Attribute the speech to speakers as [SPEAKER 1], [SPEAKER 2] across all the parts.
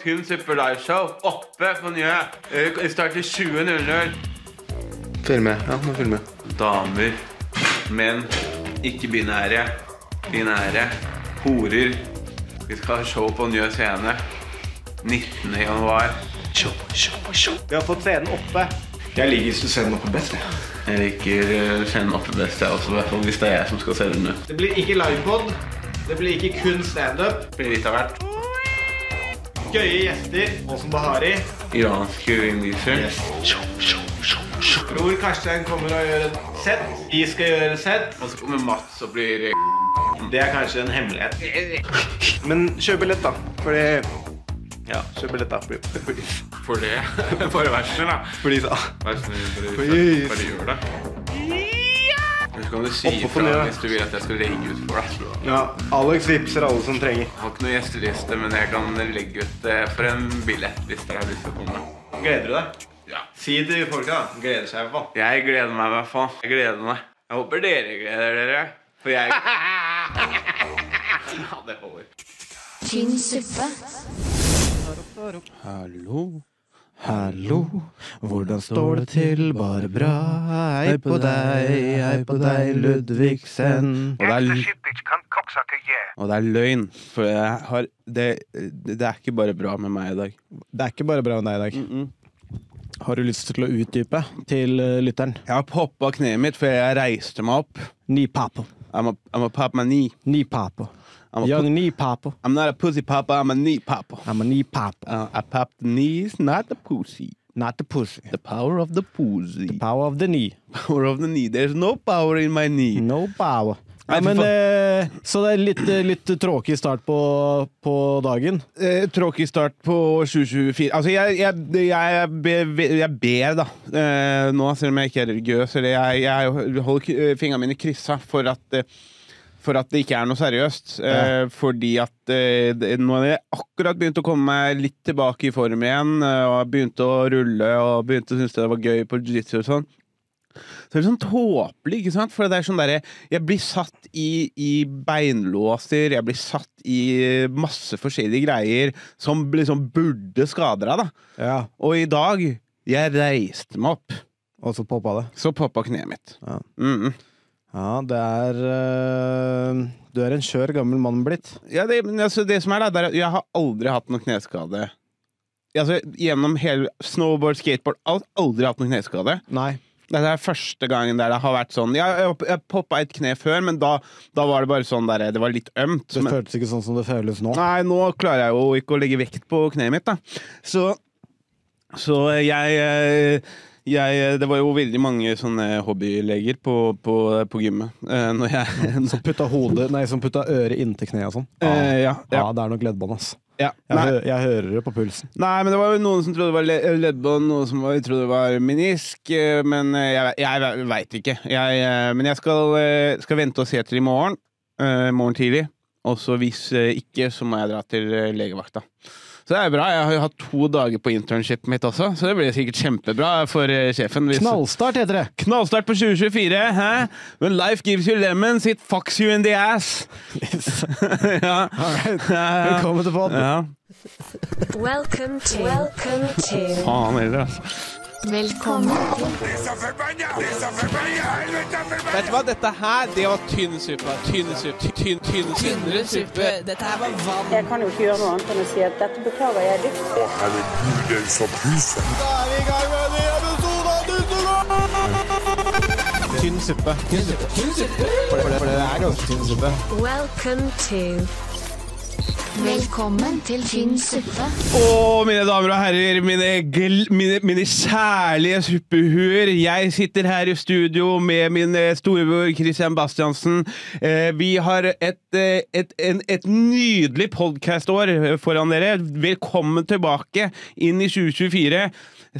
[SPEAKER 1] Tynn suppe liveshow oppe på nye. Eh, Starter 20.00.
[SPEAKER 2] Følg med. Ja, må følge med.
[SPEAKER 1] Damer, menn, ikke-binære, binære, horer. Vi skal ha show på Njø scene 19. januar.
[SPEAKER 3] Vi har fått scenen oppe.
[SPEAKER 2] Jeg liker scenen oppe best. jeg.
[SPEAKER 1] Jeg liker eh, scenen oppe best, jeg også, i hvert fall hvis det er jeg som skal selge den.
[SPEAKER 3] Det blir ikke livepod. Det blir ikke kun standup.
[SPEAKER 1] Det blir litt av hvert.
[SPEAKER 3] Gøye gjester. Åsen Bahari.
[SPEAKER 1] Iranske ringdyser.
[SPEAKER 3] Bror Karstein kommer og gjør et sett. Vi skal gjøre et sett.
[SPEAKER 1] Og så kommer Mats og blir eh,
[SPEAKER 3] Det er kanskje en hemmelighet. Men kjøp billett, da. Fordi Ja, kjøp billett, da. Please.
[SPEAKER 1] for det. Bare vær snill, da.
[SPEAKER 3] Please, da.
[SPEAKER 1] Vær snill, bare,
[SPEAKER 3] Please.
[SPEAKER 1] bare gjør det. Men så kan du si
[SPEAKER 3] Opp og
[SPEAKER 1] ifra
[SPEAKER 3] ned.
[SPEAKER 1] hvis du vil at jeg skal legge ut for deg.
[SPEAKER 3] Ja, Alex vipser alle som trenger.
[SPEAKER 1] Jeg har ikke noe gjesteliste, men jeg kan legge ut eh, for en billett hvis dere har lyst til å komme.
[SPEAKER 3] Gleder du deg?
[SPEAKER 1] Ja.
[SPEAKER 3] Si til folka. da. Gleder seg i hvert fall.
[SPEAKER 1] Jeg gleder meg i hvert fall. Jeg gleder meg. Jeg håper dere gleder dere. For jeg Ja, det holder.
[SPEAKER 4] Tynn suppe.
[SPEAKER 5] Hallo, hallo, hvordan står det til? Bare bra. Hei på deg, hei på deg, Ludvigsen. Og det er, og det er løgn, for jeg har det, det det er ikke bare bra med meg i dag.
[SPEAKER 6] Det er ikke bare bra med deg i dag. Har du lyst til å utdype til eh, lytteren?
[SPEAKER 5] Jeg har poppa kneet mitt, for jeg reiste meg opp.
[SPEAKER 6] Ny papo.
[SPEAKER 5] I'm a, I'm a pop my knee.
[SPEAKER 6] Ny papo.
[SPEAKER 5] I'm, a
[SPEAKER 6] Young
[SPEAKER 5] pu-
[SPEAKER 6] ny papo.
[SPEAKER 5] I'm not a pussy popper, I'm a knee popper.
[SPEAKER 6] I'm a ny papo.
[SPEAKER 5] Uh, I pop the knees, not the pussy.
[SPEAKER 6] Not the pussy.
[SPEAKER 5] The power of the pussy.
[SPEAKER 6] Power of the knee.
[SPEAKER 5] power of the knee. There's no power in my knee.
[SPEAKER 6] No power.
[SPEAKER 5] Nei,
[SPEAKER 6] Ja,
[SPEAKER 5] fy
[SPEAKER 6] men,
[SPEAKER 5] faen.
[SPEAKER 6] eh, så det er litt, eh, litt tråkig start på, på dagen.
[SPEAKER 5] eh, tråkig start på 2024. Altså, jeg, jeg, jeg, jeg, ber, jeg ber, da, eh, nå, selv om jeg ikke er religiøs, eller jeg, jeg holder k- eh, fingrene mine kryssa for at, eh, for at det ikke er noe seriøst. Eh, Fordi at eh, det- nå har jeg akkurat begynt å komme meg litt tilbake i form igjen, eh, og begynte å rulle og begynte å synes det var gøy på jiu-jitsu og sånn. Så det er litt sånn tåpelig, ikke sant? For det er sånn derre Jeg blir satt i, i beinlåser, jeg blir satt i masse forskjellige greier som liksom burde skade deg, da.
[SPEAKER 6] Ja,
[SPEAKER 5] Og i dag jeg reiste meg opp,
[SPEAKER 6] Og så poppa det.
[SPEAKER 5] så poppa kneet mitt.
[SPEAKER 6] Ja.
[SPEAKER 5] Mm.
[SPEAKER 6] Ja, det er eh, Du er en skjør gammel mann blitt.
[SPEAKER 5] Ja, det, men altså, det som er da, det er at jeg har aldri hatt noen kneskade. Altså, gjennom hele snowboard, skateboard, alt, aldri hatt noen kneskade.
[SPEAKER 6] Nei.
[SPEAKER 5] Dette er første gangen der det har vært sånn Jeg, jeg, jeg poppa et kne før, men da, da var det bare sånn der, det var litt ømt.
[SPEAKER 6] Det
[SPEAKER 5] men-
[SPEAKER 6] føltes ikke sånn som det føles nå.
[SPEAKER 5] Nei, nå klarer jeg jo ikke å legge vekt på kneet mitt, da. Så, så jeg, eh, jeg Det var jo veldig mange sånne hobbyleger på, på, på gymmet. eh, Når jeg
[SPEAKER 6] Som putta hodet Nei, som putta øret inntil kneet og sånn.
[SPEAKER 5] Eh, ja,
[SPEAKER 6] ja,
[SPEAKER 5] ja,
[SPEAKER 6] det er nok leddbånd, ass.
[SPEAKER 5] ja.
[SPEAKER 6] Jeg,
[SPEAKER 5] Nei,
[SPEAKER 6] hø jeg hører det på pulsen.
[SPEAKER 5] nei, men det var jo noen som trodde det var le- leddbånd, noen som var- trodde det var menisk. eh, Men eh, jeg, jeg veit ikke. Jeg, eh, men jeg skal, eh, skal vente og se til i morgen. eh, morgen tidlig. Og så hvis eh, ikke, så må jeg dra til eh, legevakta. Så det er bra. Jeg har jo hatt to dager på internshipet mitt også, så det blir sikkert kjempebra for eh, sjefen. Hvis
[SPEAKER 6] Knallstart heter det!
[SPEAKER 5] Knallstart på 2024, hæ? When life gives you lemons, it fucks you in the ass. ja. ja, ja.
[SPEAKER 6] Velkommen til podden.
[SPEAKER 5] Ja,
[SPEAKER 4] Welcome to Welcome to
[SPEAKER 5] faen heller, altså.
[SPEAKER 4] Velkommen til
[SPEAKER 5] Vet du hva, dette her, det var tynn suppe. Tynn suppe. Tynn, tynn, tynnere suppe.
[SPEAKER 7] Dette her var vann.
[SPEAKER 8] Jeg kan jo ikke gjøre noe annet enn å si at dette beklager jeg dypt.
[SPEAKER 6] Tynn suppe. Tynn suppe. For, det, for det er ganske tynn suppe.
[SPEAKER 4] Welcome to Velkommen til tynn suppe.
[SPEAKER 5] Å, mine damer og herrer, mine, gl mine, mine kjærlige suppehuer. Jeg sitter her i studio med min eh, storebror Christian Bastiansen. Eh, vi har et, eh, et, en, et nydelig podkastår foran dere. Velkommen tilbake inn i 2024.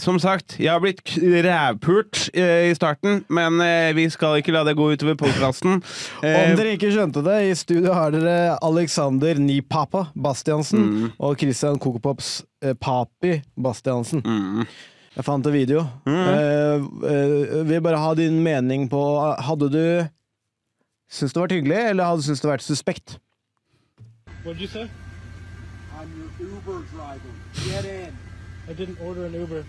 [SPEAKER 5] Som sagt, jeg har blitt k- rævpult eh, i starten, men eh, vi skal ikke la det gå utover Eh, podkasten.
[SPEAKER 6] Om dere ikke skjønte det, i studio har dere Alexander Nipapa Bastiansen
[SPEAKER 5] Mm.
[SPEAKER 6] og Christian Kokopops eh, Papi Bastiansen.
[SPEAKER 5] Mm.
[SPEAKER 6] Jeg fant en video. Eh, eh, vil bare ha din mening på Hadde du syntes det vært hyggelig, eller hadde du syntes det vært suspekt?
[SPEAKER 9] I'm your
[SPEAKER 7] Uber driving. Get in.
[SPEAKER 9] I didn't order an Uber.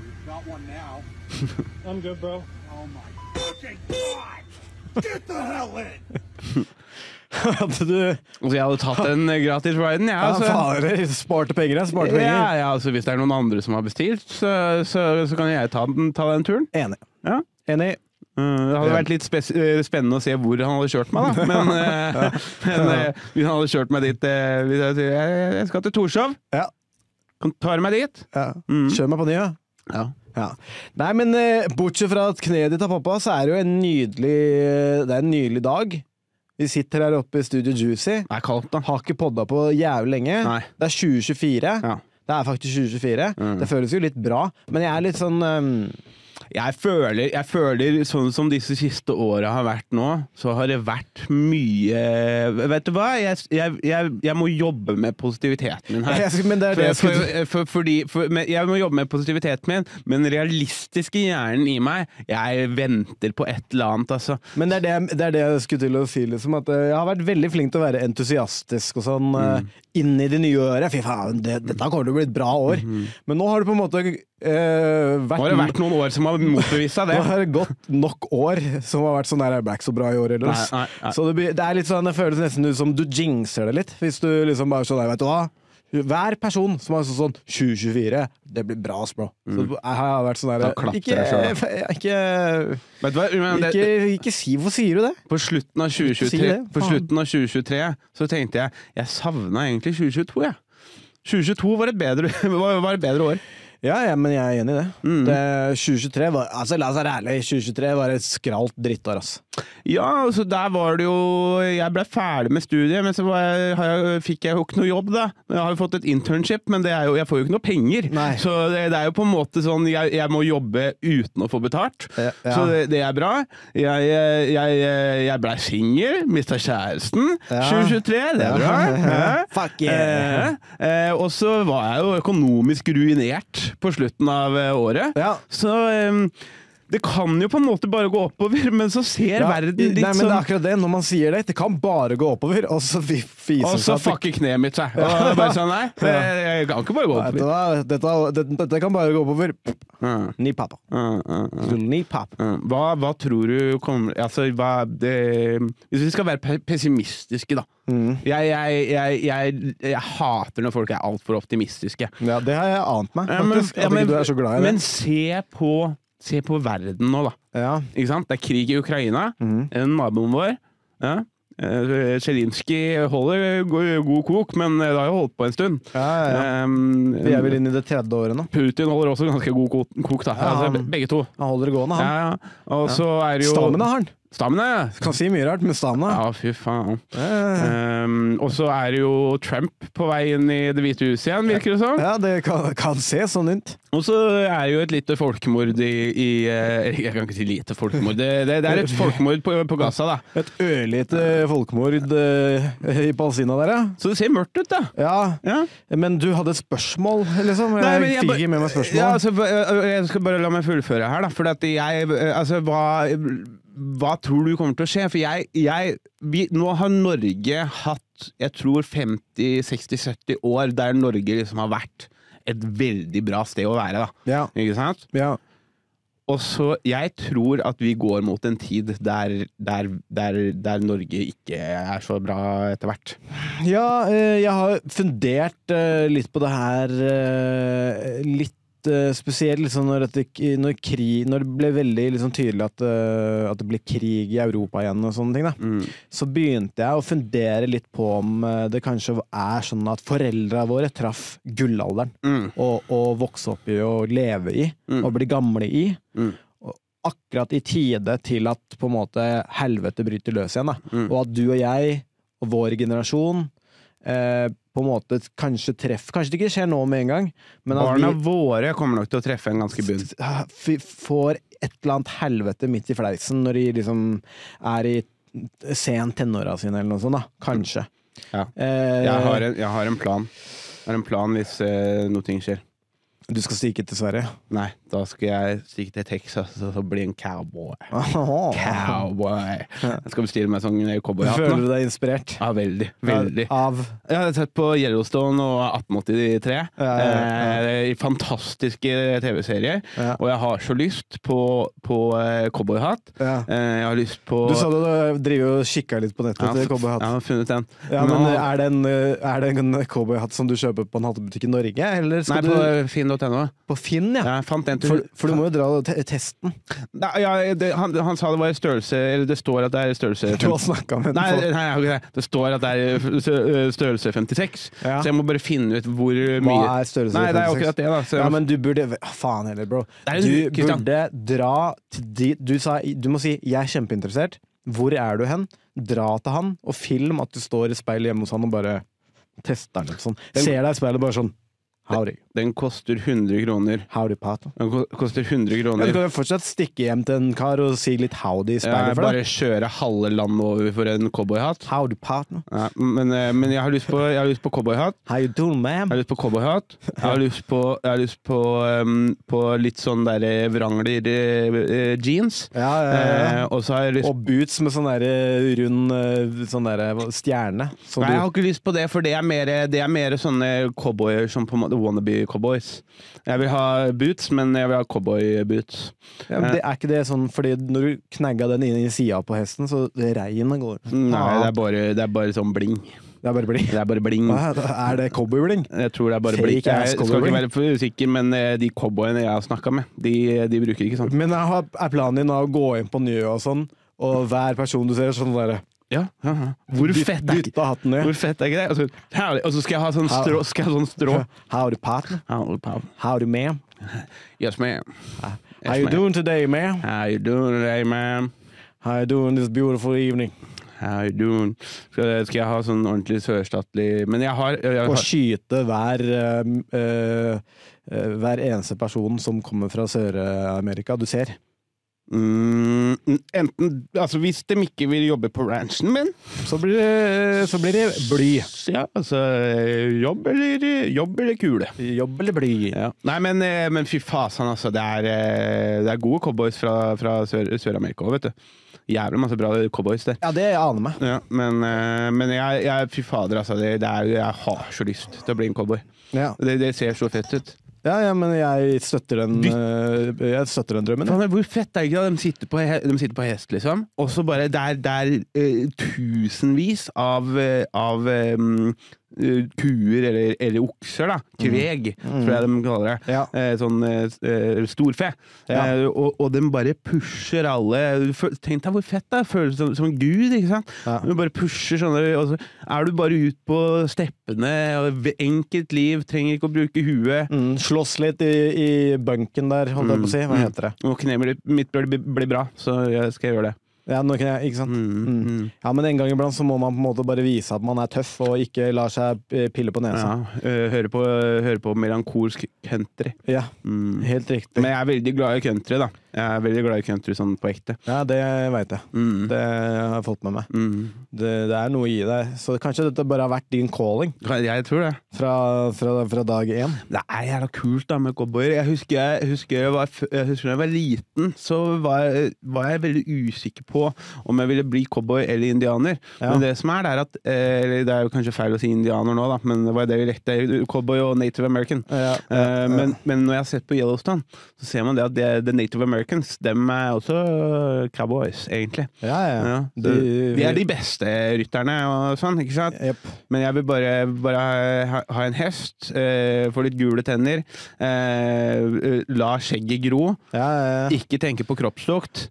[SPEAKER 7] We've got one now.
[SPEAKER 9] I'm good, bro.
[SPEAKER 7] Oh my fucking god! Get the hell in!
[SPEAKER 6] Hadde du
[SPEAKER 5] Altså, jeg hadde tatt den eh, gratis riden, jeg.
[SPEAKER 6] ja,
[SPEAKER 5] altså.
[SPEAKER 6] fader, sparte penger, jeg. Sparte penger.
[SPEAKER 5] Ja, ja, altså, hvis det er noen andre som har bestilt, så, så, så kan jeg ta den, ta den turen.
[SPEAKER 6] Enig.
[SPEAKER 5] Ja.
[SPEAKER 6] Enig.
[SPEAKER 5] Eh, Det hadde vært litt spes- eh, spennende å se hvor han hadde kjørt meg, da. Men, eh, men eh, hvis han hadde kjørt meg dit eh, Hvis jeg sier «Jeg- jeg skal til Torshov,
[SPEAKER 6] Ja.
[SPEAKER 5] kan du ta meg dit? Mm.
[SPEAKER 6] Ja. Kjør meg på ny, ja.
[SPEAKER 5] Ja.
[SPEAKER 6] Ja. Nei, men eh, bortsett fra at kneet ditt er pappa, så er det jo en nydelig eh, Det er en nydelig dag. Vi sitter her oppe i Studio Juicy.
[SPEAKER 5] Det er kaldt, da.
[SPEAKER 6] Har ikke podda på jævlig lenge.
[SPEAKER 5] Nei.
[SPEAKER 6] Det er 2024.
[SPEAKER 5] Ja. Mm.
[SPEAKER 6] Det er faktisk 2024. Det føles jo litt bra, men jeg er litt sånn ehm,
[SPEAKER 5] Jeg føler, jeg føler sånn som disse siste åra har vært nå, så har det vært mye Vet du hva? Jeg, jeg, jeg, jeg må jobbe med positiviteten min her.
[SPEAKER 6] Jeg skal- men det er det jeg
[SPEAKER 5] for, eh,
[SPEAKER 6] skulle-
[SPEAKER 5] for, for, fordi, for, men jeg må jobbe med positiviteten min, men den realistiske hjernen i meg Jeg venter på et eller annet, altså.
[SPEAKER 6] Men det er det, jeg- det er det jeg skulle til å si, liksom. At eh, jeg har vært veldig flink til å være entusiastisk og sånn eh,
[SPEAKER 5] Mm.
[SPEAKER 6] inn i det nye året. Fy faen, det, dette kommer til å bli et bra år. Men nå har det på en måte eh, vært
[SPEAKER 5] Mm-hmm. Nå har det vært noen år som har motbevisa det.
[SPEAKER 6] Nå har det gått nok år som har vært sånn her, det ble ikke så bra i år heller. ass».
[SPEAKER 5] Nei, nei, nei.
[SPEAKER 6] Så det, blir- det er litt sånn, det føles nesten ut som du jinxer det litt. Hvis du liksom bare sånn, «Nei, vet du hva. Hver person som har sånn sånn 2024, det blir bra, ass, bro. Så jeg har vært sånn
[SPEAKER 5] Da
[SPEAKER 6] her
[SPEAKER 5] klapper
[SPEAKER 6] ikke,
[SPEAKER 5] jeg
[SPEAKER 6] ikke,
[SPEAKER 5] Vet du hva? Men det,
[SPEAKER 6] ikke, ikke si Hvorfor sier du det?
[SPEAKER 5] På slutten av
[SPEAKER 6] Si
[SPEAKER 5] 2023,
[SPEAKER 6] det,
[SPEAKER 5] på
[SPEAKER 6] faen.
[SPEAKER 5] slutten av 2023 så tenkte jeg jeg savna egentlig 2022, jeg. 2022 var et bedre, var, var et bedre år.
[SPEAKER 6] Ja, ja, men jeg er enig i det. det 2023 var, altså, la oss være ærlige, 2023 var et skralt drittår, ass.
[SPEAKER 5] Ja, altså der var det jo Jeg ble ferdig med studiet, men så var jeg, har jeg, fikk jeg jo ikke noe jobb, da. Jeg har jo fått et internship, men det er jo, jeg får jo ikke noe penger.
[SPEAKER 6] Nei.
[SPEAKER 5] Så det, det er jo på en måte sånn jeg, jeg må jobbe uten å få betalt.
[SPEAKER 6] Ja, ja.
[SPEAKER 5] Så det, det er bra. Jeg, jeg, jeg, jeg blei singel, mista kjæresten.
[SPEAKER 6] Ja.
[SPEAKER 5] 2023, det er bra.
[SPEAKER 6] Ja.
[SPEAKER 5] Hæ?
[SPEAKER 6] Fuck yeah.
[SPEAKER 5] Eh, eh, og så var jeg jo økonomisk ruinert på slutten av eh, året.
[SPEAKER 6] Ja.
[SPEAKER 5] Så eh, em, det kan jo på en måte bare gå oppover, men så ser
[SPEAKER 6] Ja,
[SPEAKER 5] verden litt
[SPEAKER 6] Nei, men det er
[SPEAKER 5] sånn
[SPEAKER 6] akkurat det. Når man sier det, det kan bare gå oppover, og så vi- fiser
[SPEAKER 5] Og så
[SPEAKER 6] det seg sånn at det-
[SPEAKER 5] fucker kneet mitt seg. Og det er bare sånn, nei, det, jeg kan ikke bare gå
[SPEAKER 6] Vet
[SPEAKER 5] oppover.
[SPEAKER 6] du
[SPEAKER 5] Mm,
[SPEAKER 6] hva? Dette, dette, dette kan bare gå oppover.
[SPEAKER 5] Ja,
[SPEAKER 6] Ny pappa.
[SPEAKER 5] ja, ja, ja.
[SPEAKER 6] Ny pappa.
[SPEAKER 5] Ja, mm, Hva, hva tror du kommer altså, hva, det, Hvis vi skal være pe- pessimistiske, da. Jeg, jeg, jeg, jeg, jeg hater når folk er altfor optimistiske.
[SPEAKER 6] Ja, det har jeg ant meg,
[SPEAKER 5] Ja, men-
[SPEAKER 6] faktisk.
[SPEAKER 5] ja,
[SPEAKER 6] at
[SPEAKER 5] men-
[SPEAKER 6] ikke du er så glad i det.
[SPEAKER 5] Men se på, se på verden nå, da.
[SPEAKER 6] ja.
[SPEAKER 5] Ikke sant? Det er krig i Ukraina.
[SPEAKER 6] Mhm.
[SPEAKER 5] En naboen vår. Ja. Eh, Zelenskyj holder go- god kok, men eh, det har jo holdt på en stund.
[SPEAKER 6] Ja, ja,
[SPEAKER 5] Ehm,
[SPEAKER 6] Vi er vel inn i det tredje året nå.
[SPEAKER 5] Putin holder også ganske god ko- kok, da. altså,
[SPEAKER 6] han-
[SPEAKER 5] be- begge to.
[SPEAKER 6] Han holder det gående, han.
[SPEAKER 5] Ja, ja. Og så er det jo
[SPEAKER 6] Stamina har han.
[SPEAKER 5] Stamina, ja.
[SPEAKER 6] Kan si mye rart, men stamina
[SPEAKER 5] Ja, fy faen.
[SPEAKER 6] ja.
[SPEAKER 5] Ehm, og så er det jo Trump på vei inn i Det hvite huset igjen, virker det som.
[SPEAKER 6] ja, det kan, kan se sånn ut.
[SPEAKER 5] Og så er det jo et lite folkemord i, i eh, Jeg kan ikke si lite folkemord. Det, det, det er et folkemord på, på Gaza, da.
[SPEAKER 6] Et ørlite folkemord eh, i Palestina der, ja.
[SPEAKER 5] Så det ser mørkt ut, da.
[SPEAKER 6] Ja,
[SPEAKER 5] Ja.
[SPEAKER 6] Men du hadde et spørsmål, liksom?
[SPEAKER 5] Nei,
[SPEAKER 6] Jeg
[SPEAKER 5] men jeg
[SPEAKER 6] fikk
[SPEAKER 5] bare-
[SPEAKER 6] ikke med meg spørsmålet.
[SPEAKER 5] Ja, altså, øh, øh, jeg skal bare la meg fullføre her, da. For at jeg øh, Altså, hva, hva tror du kommer til å skje? For jeg, jeg vi, Nå har Norge hatt, jeg tror, 50-60-70 år der Norge liksom har vært et veldig bra sted å være, da.
[SPEAKER 6] Ja.
[SPEAKER 5] Ikke sant?
[SPEAKER 6] ja.
[SPEAKER 5] Og så Jeg tror at vi går mot en tid der, der, der, der Norge ikke er så bra etter hvert.
[SPEAKER 6] Ja, eh, jeg har fundert eh, litt på det her eh, litt eh, spesielt liksom når, at det, k- når, krig, når det ble veldig liksom tydelig at, eh, at det ble krig i Europa igjen og sånne ting, da,
[SPEAKER 5] Mm.
[SPEAKER 6] så begynte jeg å fundere litt på om eh, det kanskje er sånn at foreldra våre traff gullalderen
[SPEAKER 5] Mm.
[SPEAKER 6] å, å vokse opp i og leve i og bli gamle i.
[SPEAKER 5] Mm.
[SPEAKER 6] Og Akkurat i tide til at på en måte helvete bryter løs igjen. Da.
[SPEAKER 5] Mm.
[SPEAKER 6] Og at du og jeg og vår generasjon eh, på en måte kanskje treffer Kanskje det ikke skjer nå med en gang, men at
[SPEAKER 5] Barna våre kommer nok til å treffe en ganske bunn.
[SPEAKER 6] vi ah, f- får et eller annet helvete midt i fleisen når de liksom er i sen tenåra sine, eller noe sånt. da, Kanskje.
[SPEAKER 5] Ja.
[SPEAKER 6] Eh,
[SPEAKER 5] Jeg har en, jeg har en plan. Jeg har en plan hvis eh, noe ting skjer.
[SPEAKER 6] Du skal stikke til Sverige.
[SPEAKER 5] Nei, da skal jeg stikke til Texas og så bli en cowboy. Cowboy. Jeg skal bestille meg sånn
[SPEAKER 6] Føler
[SPEAKER 5] cowboyhatt.
[SPEAKER 6] du
[SPEAKER 5] nå.
[SPEAKER 6] deg inspirert?
[SPEAKER 5] Ja, veldig. Veldig.
[SPEAKER 6] Av
[SPEAKER 5] Jeg har sett på Yellowstone og 1883.
[SPEAKER 6] Ja, ja, ja.
[SPEAKER 5] Eh, i fantastiske eh, TV-serier.
[SPEAKER 6] Ja.
[SPEAKER 5] Og jeg har så lyst på, på eh, cowboyhatt.
[SPEAKER 6] ja.
[SPEAKER 5] Eh, jeg har lyst på
[SPEAKER 6] Du sa du driver og kikka litt på nettet
[SPEAKER 5] Ja,
[SPEAKER 6] etter
[SPEAKER 5] f- Jeg
[SPEAKER 6] cowboyhatt.
[SPEAKER 5] har funnet en.
[SPEAKER 6] Ja, men
[SPEAKER 5] Nå-
[SPEAKER 6] er det en, eh, er det en cowboyhatt som du kjøper på en hattebutikk i Norge, eller
[SPEAKER 5] Nei,
[SPEAKER 6] skal
[SPEAKER 5] på
[SPEAKER 6] du
[SPEAKER 5] finn.no.
[SPEAKER 6] på Finn? ja?
[SPEAKER 5] Jeg fant en til
[SPEAKER 6] For, for du må jo dra te testen.
[SPEAKER 5] Nei, ja, det, han, han sa det var i størrelse Eller det står at det er i størrelse
[SPEAKER 6] Du har snakka med
[SPEAKER 5] Nei, nei, jeg
[SPEAKER 6] den.
[SPEAKER 5] har ikke det. det står at det er i f- stø- størrelse 56,
[SPEAKER 6] Ja.
[SPEAKER 5] så jeg må bare finne ut hvor mye
[SPEAKER 6] Hva er størrelse
[SPEAKER 5] Nei, det er
[SPEAKER 6] 56?
[SPEAKER 5] akkurat det, da. Så,
[SPEAKER 6] Ja, men du burde Å, Faen heller, bro.
[SPEAKER 5] Det er en-
[SPEAKER 6] Du
[SPEAKER 5] Christian.
[SPEAKER 6] burde dra til de Du, sa, du må si 'jeg er kjempeinteressert'. Hvor er du hen? Dra til han og film at du står i speilet hjemme hos han og bare tester litt sånn.
[SPEAKER 5] Den-
[SPEAKER 6] Ser deg i speilet bare sånn. Howdy.
[SPEAKER 5] Den koster 100 kroner.
[SPEAKER 6] Howdy, Pat.
[SPEAKER 5] Den ko- koster 100
[SPEAKER 6] Ja,
[SPEAKER 5] kroner.
[SPEAKER 6] du kan jo fortsatt stikke hjem til en kar og si litt howdy i
[SPEAKER 5] Jeg
[SPEAKER 6] speilet for deg.
[SPEAKER 5] bare kjøre halve landet over for en cowboyhatt.
[SPEAKER 6] Howdy, partner.
[SPEAKER 5] Ja, men, eh, men jeg har lyst på, jeg har lyst på cowboyhatt.
[SPEAKER 6] How you doing,
[SPEAKER 5] Jeg
[SPEAKER 6] ma'am?
[SPEAKER 5] har lyst på cowboyhatt. Jeg har lyst på, jeg har lyst på, ehm, på litt sånn der eh, vrangler eh, eh, jeans.
[SPEAKER 6] Ja, ja, ja.
[SPEAKER 5] Eh, og så har jeg lyst
[SPEAKER 6] Og boots med sånn der eh, rund eh, sånn der, eh, stjerne. Som
[SPEAKER 5] Nei, jeg har
[SPEAKER 6] du,
[SPEAKER 5] ikke lyst på det, for det er mer, det er mer sånne cowboyer som på en måte wannabe cowboys. Jeg vil ha boots, men jeg vil ha cowboyboots.
[SPEAKER 6] ja, men det er ikke det sånn fordi når du knagga den inn i sida på hesten, så reiene går.
[SPEAKER 5] Mm, Nei, det
[SPEAKER 6] Faen.
[SPEAKER 5] er bare, det er bare sånn bling.
[SPEAKER 6] det er bare bling.
[SPEAKER 5] Det er bare bling.
[SPEAKER 6] Hva er det- Er det cowboybling?
[SPEAKER 5] Jeg tror det er bare
[SPEAKER 6] Fake
[SPEAKER 5] bling. Jeg
[SPEAKER 6] ass
[SPEAKER 5] skal
[SPEAKER 6] cowboy
[SPEAKER 5] ikke
[SPEAKER 6] bling.
[SPEAKER 5] være for usikker, men eh, de cowboyene jeg har snakka med, de, de bruker ikke sånn.
[SPEAKER 6] Men jeg har- er planen din å gå inn på nye og sånn, og hver person du ser, sånn derre
[SPEAKER 5] Ja, ja, ja. Hvor
[SPEAKER 6] dytt-
[SPEAKER 5] fett er
[SPEAKER 6] Dytta
[SPEAKER 5] ikke
[SPEAKER 6] hatten ned.
[SPEAKER 5] hvor fett er ikke det? Og så, herlig. og så skal jeg ha sånn strå. Skal jeg ha sånn strå.
[SPEAKER 6] Howdy, partner.
[SPEAKER 5] Herlig, pal.
[SPEAKER 6] Howdy, ma'am.
[SPEAKER 5] Yes, ma'am.
[SPEAKER 6] How you
[SPEAKER 5] ma'am.
[SPEAKER 6] doing today, ma'am?
[SPEAKER 5] How you doing today, ma'am?
[SPEAKER 6] How you doing this beautiful evening?
[SPEAKER 5] How you doing? Skal, skal jeg ha sånn ordentlig sørstatlig Men jeg har, jeg
[SPEAKER 6] Å
[SPEAKER 5] har
[SPEAKER 6] skyte hver, eh, eh, eh, hver eneste person som kommer fra Sør-Amerika du ser.
[SPEAKER 5] mm, Enten Altså, hvis de ikke vil jobbe på ranchen min,
[SPEAKER 6] Så blir det, så blir det bly.
[SPEAKER 5] så ja, altså Jobb eller, jobb eller kule.
[SPEAKER 6] Jobb eller bly?
[SPEAKER 5] Ja. Nei, men, eh, men fy fasan, altså. Det er, eh, det er gode cowboys fra, fra Sør- Sør-Amerika òg, vet du. Jævlig masse bra cowboys der.
[SPEAKER 6] Ja, det aner meg.
[SPEAKER 5] Ja, men eh, men jeg, jeg, fy fader, altså. Det, det er, jeg har så lyst til å bli en cowboy.
[SPEAKER 6] Ja,
[SPEAKER 5] Det, det ser så fett ut.
[SPEAKER 6] ja, ja men jeg støtter den, eh, jeg støtter den drømmen.
[SPEAKER 5] Faen, men Hvor fett er det ikke da? De sitter på, he- de sitter på hest, liksom. Og så bare Det er, det er eh, tusenvis av, eh, av eh, mm, eh, kuer, eller, eller okser, da. Kveg, tror jeg de kaller det.
[SPEAKER 6] Mm. Ja.
[SPEAKER 5] Eh, sånn eh, s- eh, storfe.
[SPEAKER 6] Ja.
[SPEAKER 5] Eh, og, og de bare pusher alle. Fø- Tenk deg hvor fett det er. Føles som, som en gud, ikke sant?
[SPEAKER 6] Ja.
[SPEAKER 5] Du bare pusher sånne og så Er du bare ut på steppene, og ve- enkelt liv, trenger ikke å bruke huet.
[SPEAKER 6] Mm, slåss litt i, i bunken der, holdt jeg på å si. Hva heter det?
[SPEAKER 5] Og kneet mitt- mitt blir, blir bra, så jeg skal gjøre det.
[SPEAKER 6] Ja, nå kan jeg, ikke sant?
[SPEAKER 5] Mm,
[SPEAKER 6] Mm.
[SPEAKER 5] mm.
[SPEAKER 6] Ja, men en gang iblant så må man på en måte bare vise at man er tøff, og ikke lar seg eh, pille på nesa.
[SPEAKER 5] Ja, eh, høre, på, høre på melankolsk country.
[SPEAKER 6] Ja,
[SPEAKER 5] Mm.
[SPEAKER 6] helt riktig.
[SPEAKER 5] Men jeg er veldig glad i country, da. Jeg er veldig glad i country sånn på ekte.
[SPEAKER 6] Ja, det veit jeg.
[SPEAKER 5] Mm.
[SPEAKER 6] Det har jeg fått med meg.
[SPEAKER 5] Mm.
[SPEAKER 6] Det, det er noe i deg. Så kanskje dette bare har vært din calling
[SPEAKER 5] Jeg tror det.
[SPEAKER 6] fra, fra, fra dag én.
[SPEAKER 5] Det er jævla kult da med cowboyer. Jeg husker jeg, husker jeg, var, f- jeg husker da jeg var liten, så var jeg, var jeg veldig usikker på om jeg ville bli cowboy eller indianer.
[SPEAKER 6] Ja.
[SPEAKER 5] Men det som er, det er at eh, Eller det er jo kanskje feil å si indianer nå, da, men det var det vi lekte. Cowboy og native american.
[SPEAKER 6] Ja,
[SPEAKER 5] Eh, Men, men når jeg har sett på Yellowstone, så ser man det at det, the native americans dem er også cowboys, egentlig.
[SPEAKER 6] Ja, ja.
[SPEAKER 5] Ja, så
[SPEAKER 6] De,
[SPEAKER 5] de er de beste rytterne og sånn, ikke sant?
[SPEAKER 6] Jepp.
[SPEAKER 5] Men jeg vil bare, bare ha, ha en hest, eh, få litt gule tenner, eh, eh, la skjegget gro,
[SPEAKER 6] Ja, ja, ja.
[SPEAKER 5] ikke tenke på kroppslukt,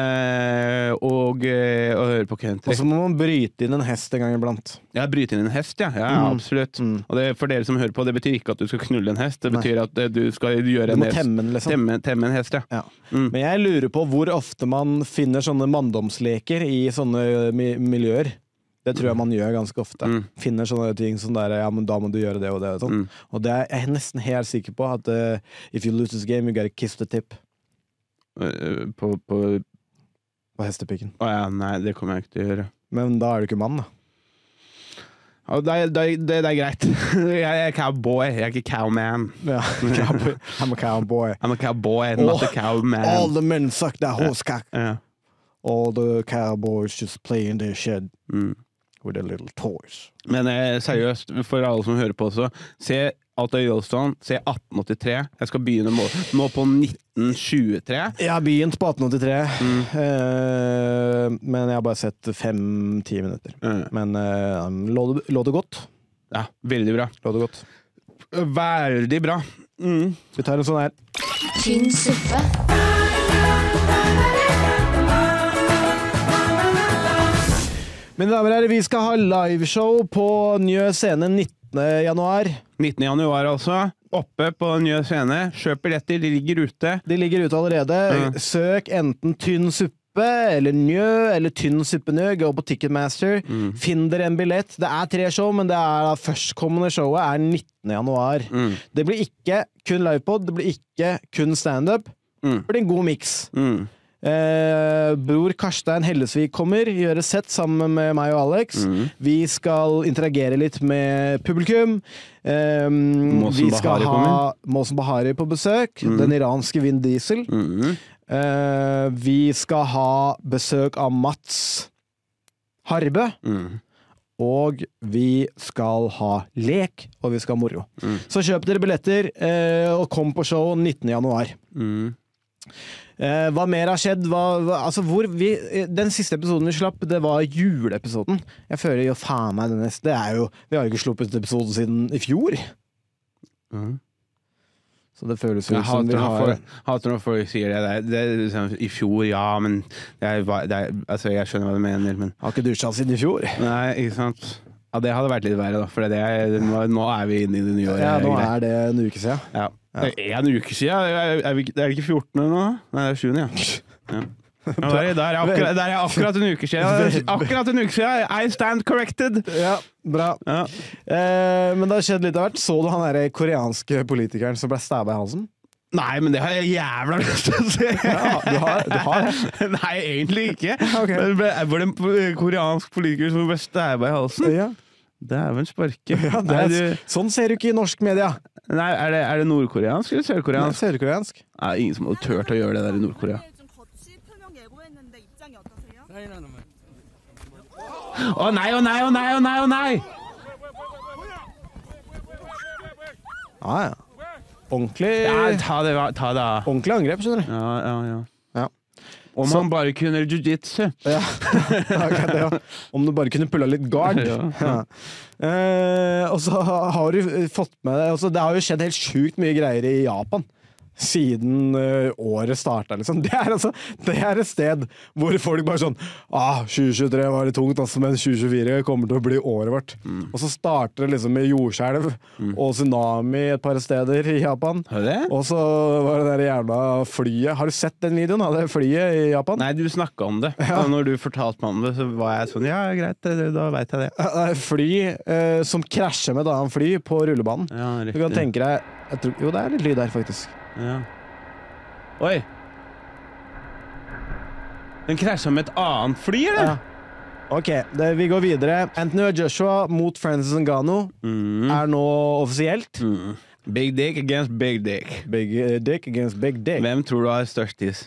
[SPEAKER 5] eh, og, eh, og høre på country.
[SPEAKER 6] Og så må man bryte inn en hest en gang iblant.
[SPEAKER 5] Ja, bryte inn en hest, ja. ja
[SPEAKER 6] Mm.
[SPEAKER 5] Absolutt.
[SPEAKER 6] Mm.
[SPEAKER 5] Og det, for dere som hører på, det betyr ikke at du skal knulle en hest, det
[SPEAKER 6] Nei.
[SPEAKER 5] betyr at eh, du skal gjøre
[SPEAKER 6] Du
[SPEAKER 5] en
[SPEAKER 6] må
[SPEAKER 5] hest.
[SPEAKER 6] temme den, liksom.
[SPEAKER 5] Temme, temme en hest, ja.
[SPEAKER 6] Ja.
[SPEAKER 5] Mm.
[SPEAKER 6] Men jeg lurer på hvor ofte man finner sånne manndomsleker i sånne eh, mi miljøer. Det tror jeg man gjør ganske ofte.
[SPEAKER 5] Mm.
[SPEAKER 6] Finner sånne ting som der, ja, men da må du gjøre det og det. Og, sånn.
[SPEAKER 5] Mm.
[SPEAKER 6] og det er jeg er nesten helt sikker på at eh, if you lose this game, you gotta kiss the tip
[SPEAKER 5] Eh, På, på
[SPEAKER 6] på hestepikken.
[SPEAKER 5] Å ja, nei, det kommer jeg ikke til å gjøre.
[SPEAKER 6] Men da er du ikke mann, da.
[SPEAKER 5] Og det, er- det, er- det, det er greit. Jeg er cowboy, jeg er ikke cowman.
[SPEAKER 6] Ja, cowboy. I'm a cowboy.
[SPEAKER 5] I'm a cowboy, not a
[SPEAKER 6] Åh, All
[SPEAKER 5] cowman.
[SPEAKER 6] the men suck that horse cock.
[SPEAKER 5] Ja.
[SPEAKER 6] All the cowboys just play in their shed with their little toys.
[SPEAKER 5] Men eh, seriøst, for alle som hører på også, se alt av Yellowstone. Se 1883. Jeg skal begynne må nå på 1923.
[SPEAKER 6] Jeg har begynt på 1883, eh, men jeg har bare sett fem-ti minutter.
[SPEAKER 5] Mm.
[SPEAKER 6] Men eh, lå, det, lå det godt?
[SPEAKER 5] Ja, veldig bra.
[SPEAKER 6] Lå det godt.
[SPEAKER 5] Veldig bra. Mm.
[SPEAKER 6] Vi tar en sånn her.
[SPEAKER 4] Tynn suppe.
[SPEAKER 6] Mine damer og herrer, vi skal ha liveshow på Njø scene 19. januar.
[SPEAKER 5] 19. januar, altså. Oppe på Njø scene. Kjøp billetter, de ligger ute.
[SPEAKER 6] De ligger ute allerede.
[SPEAKER 5] Ja.
[SPEAKER 6] Søk enten Tynn suppe eller Njø eller Tynn suppe Njø. Gå på Ticketmaster. Finn dere en billett. Det er tre show, men det er da førstkommende showet er 19. januar. Det blir ikke kun livepod, det blir ikke kun standup.
[SPEAKER 5] Mm.
[SPEAKER 6] Det blir en god miks.
[SPEAKER 5] Mm.
[SPEAKER 6] Eh, bror Karstein Hellesvik kommer, gjør et sett sammen med meg og Alex. Vi skal interagere litt med publikum. Eh, vi skal
[SPEAKER 5] Bahari
[SPEAKER 6] ha Måsen Bahari på besøk. Den iranske Vin Diesel.
[SPEAKER 5] Mm.
[SPEAKER 6] Eh, vi skal ha besøk av Mats Harbø.
[SPEAKER 5] Mm.
[SPEAKER 6] Og vi skal ha lek, og vi skal ha moro. Så kjøp dere billetter, eh, og kom på show 19. januar.
[SPEAKER 5] Mm.
[SPEAKER 6] Eh, hva mer har skjedd? Hva, hva, altså hvor vi, eh, den siste episoden vi slapp, det var juleepisoden. Jeg føler jo faen meg den neste. Det er jo, vi har jo ikke sluppet episoden siden i fjor.
[SPEAKER 5] Mhm.
[SPEAKER 6] Så det føles jo
[SPEAKER 5] Jeg
[SPEAKER 6] ut som vi
[SPEAKER 5] hater når
[SPEAKER 6] har
[SPEAKER 5] folk- hater når folk sier det. Det, er- det, er liksom, I fjor, ja, men jeg, var- det er, altså, jeg skjønner hva du mener, men
[SPEAKER 6] Har ikke dusja siden i fjor.
[SPEAKER 5] Nei, ikke sant. Ja, det hadde vært litt verre, da. For det er, nå, nå er vi inne i det nye året.
[SPEAKER 6] Ja, nå
[SPEAKER 5] Greit.
[SPEAKER 6] er det en uke siden.
[SPEAKER 5] ja. Det er en uke siden. Er, er, vi, ikke- er det ikke 14. nå? Nei, det er 7. ja. ja. Ja, der, er- der, er akkurat, der er akkurat en uke siden. Akkurat en uke siden! I stand corrected!
[SPEAKER 6] Ja, bra.
[SPEAKER 5] Ja.
[SPEAKER 6] Eh, men det har skjedd litt av hvert. Så du han derre koreanske politikeren som ble stabba i halsen?
[SPEAKER 5] Nei, men det har jeg jævla lyst til å se!
[SPEAKER 6] du har- du
[SPEAKER 5] Nei, egentlig ikke.
[SPEAKER 6] Ok.
[SPEAKER 5] Men ble- var det en po- eh, koreansk politiker som ble stæva i halsen?
[SPEAKER 6] Ja,
[SPEAKER 5] Dæven sparke.
[SPEAKER 6] ja det
[SPEAKER 5] Nei,
[SPEAKER 6] er,
[SPEAKER 5] du-
[SPEAKER 6] sånn ser du ikke i norsk media.
[SPEAKER 5] nei, er det, er det nordkoreansk eller
[SPEAKER 6] Nei,
[SPEAKER 5] sørkoreansk?
[SPEAKER 6] Sørkoreansk.
[SPEAKER 5] Nei, ingen som hadde turt å gjøre det der i Nord-Korea. Å nei, å nei, å nei, å nei! å nei
[SPEAKER 6] Ja, ja. Ordentlig,
[SPEAKER 5] Ja, Ta det, va- ta det av.
[SPEAKER 6] ordentlig angrep, skjønner du.
[SPEAKER 5] Eh. Ja, ja, ja.
[SPEAKER 6] Ja.
[SPEAKER 5] Om han bare kunne jiu-jitsu.
[SPEAKER 6] Ja, det var akkurat det, ja. Om du bare kunne pulla litt guard.
[SPEAKER 5] Ja.
[SPEAKER 6] Ja. Eh, og så har du fått med deg altså, Det har jo skjedd helt sjukt mye greier i Japan. Siden eh, året starta, liksom. Det er, altså, det er et sted hvor folk bare sånn ah, 2023 var litt tungt, altså, men 2024 kommer til å bli året vårt. Og så starter det liksom med jordskjelv og tsunami et par steder i Japan.
[SPEAKER 5] Har du det?
[SPEAKER 6] Og så var det der jævla flyet. Har du sett den videoen av det flyet i Japan?
[SPEAKER 5] Nei, du snakka om det. Og når du fortalte meg om det, så var jeg sånn Ja, greit, det- da veit jeg det.
[SPEAKER 6] Det er eh, fly eh, som krasjer med et annet fly på rullebanen.
[SPEAKER 5] Ja,
[SPEAKER 6] du kan
[SPEAKER 5] riktig.
[SPEAKER 6] tenke deg jeg tror, Jo, det er litt lyd her, faktisk.
[SPEAKER 5] Ja. Oi! Den krasja med et annet fly, eller?
[SPEAKER 6] Ja. Ok, det, vi går videre. Anthony og Joshua mot Francis Ngannou er nå offisielt.
[SPEAKER 5] Mm, Big dick against big dick.
[SPEAKER 6] Big eh, dick against big dick. Eh,
[SPEAKER 5] Hvem tror du har størst tiss?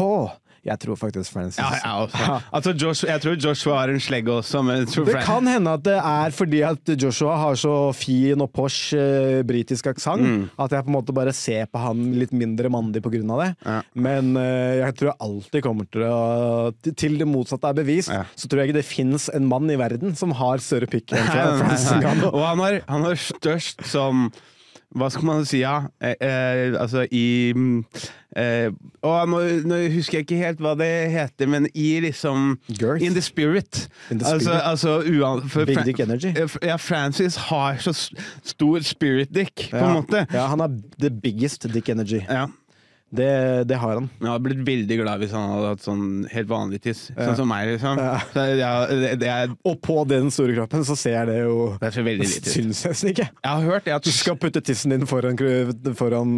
[SPEAKER 6] Åh, jeg tror faktisk Francis.
[SPEAKER 5] Ja, jeg, også. Altså, Josh, jeg tror Joshua har en slegge også, men jeg tror
[SPEAKER 6] Det
[SPEAKER 5] Frank-
[SPEAKER 6] kan hende at det er fordi at Joshua har så fin og posh eh, britisk aksent,
[SPEAKER 5] Mm.
[SPEAKER 6] at jeg på en måte bare ser på han litt mindre mandig på grunn av det.
[SPEAKER 5] Ja.
[SPEAKER 6] Men eh, jeg tror jeg alltid kommer til å Til det motsatte er bevist,
[SPEAKER 5] Ja.
[SPEAKER 6] så tror jeg ikke det fins en mann i verden som har større pikk enn
[SPEAKER 5] Nei, nei,
[SPEAKER 6] Francis
[SPEAKER 5] nei, nei.
[SPEAKER 6] Ngannou.
[SPEAKER 5] Og han har, han har størst som Hva skal man si, ja? Eh, eh, altså i mm, eh, og nå, nå husker jeg ikke helt hva det heter, men i liksom
[SPEAKER 6] Girth.
[SPEAKER 5] In the spirit.
[SPEAKER 6] In the
[SPEAKER 5] Altså,
[SPEAKER 6] spirit.
[SPEAKER 5] altså uan, for
[SPEAKER 6] Big
[SPEAKER 5] Fran-
[SPEAKER 6] dick energy.
[SPEAKER 5] Eh, Ja, Francis har så s- stor spirit dick, på en måte.
[SPEAKER 6] Ja, han er the biggest dick energy.
[SPEAKER 5] Ja.
[SPEAKER 6] Det, det har han.
[SPEAKER 5] Men jeg hadde blitt veldig glad hvis han hadde hatt sånn helt vanlig tiss. Sånn som meg, liksom.
[SPEAKER 6] Ja.
[SPEAKER 5] Så jeg, det, det, er,
[SPEAKER 6] Og på den store kroppen så ser jeg det jo
[SPEAKER 5] det ser veldig lite ut.
[SPEAKER 6] Syns nesten ikke.
[SPEAKER 5] Jeg har hørt det at
[SPEAKER 6] Du skal putte tissen din foran, kro- foran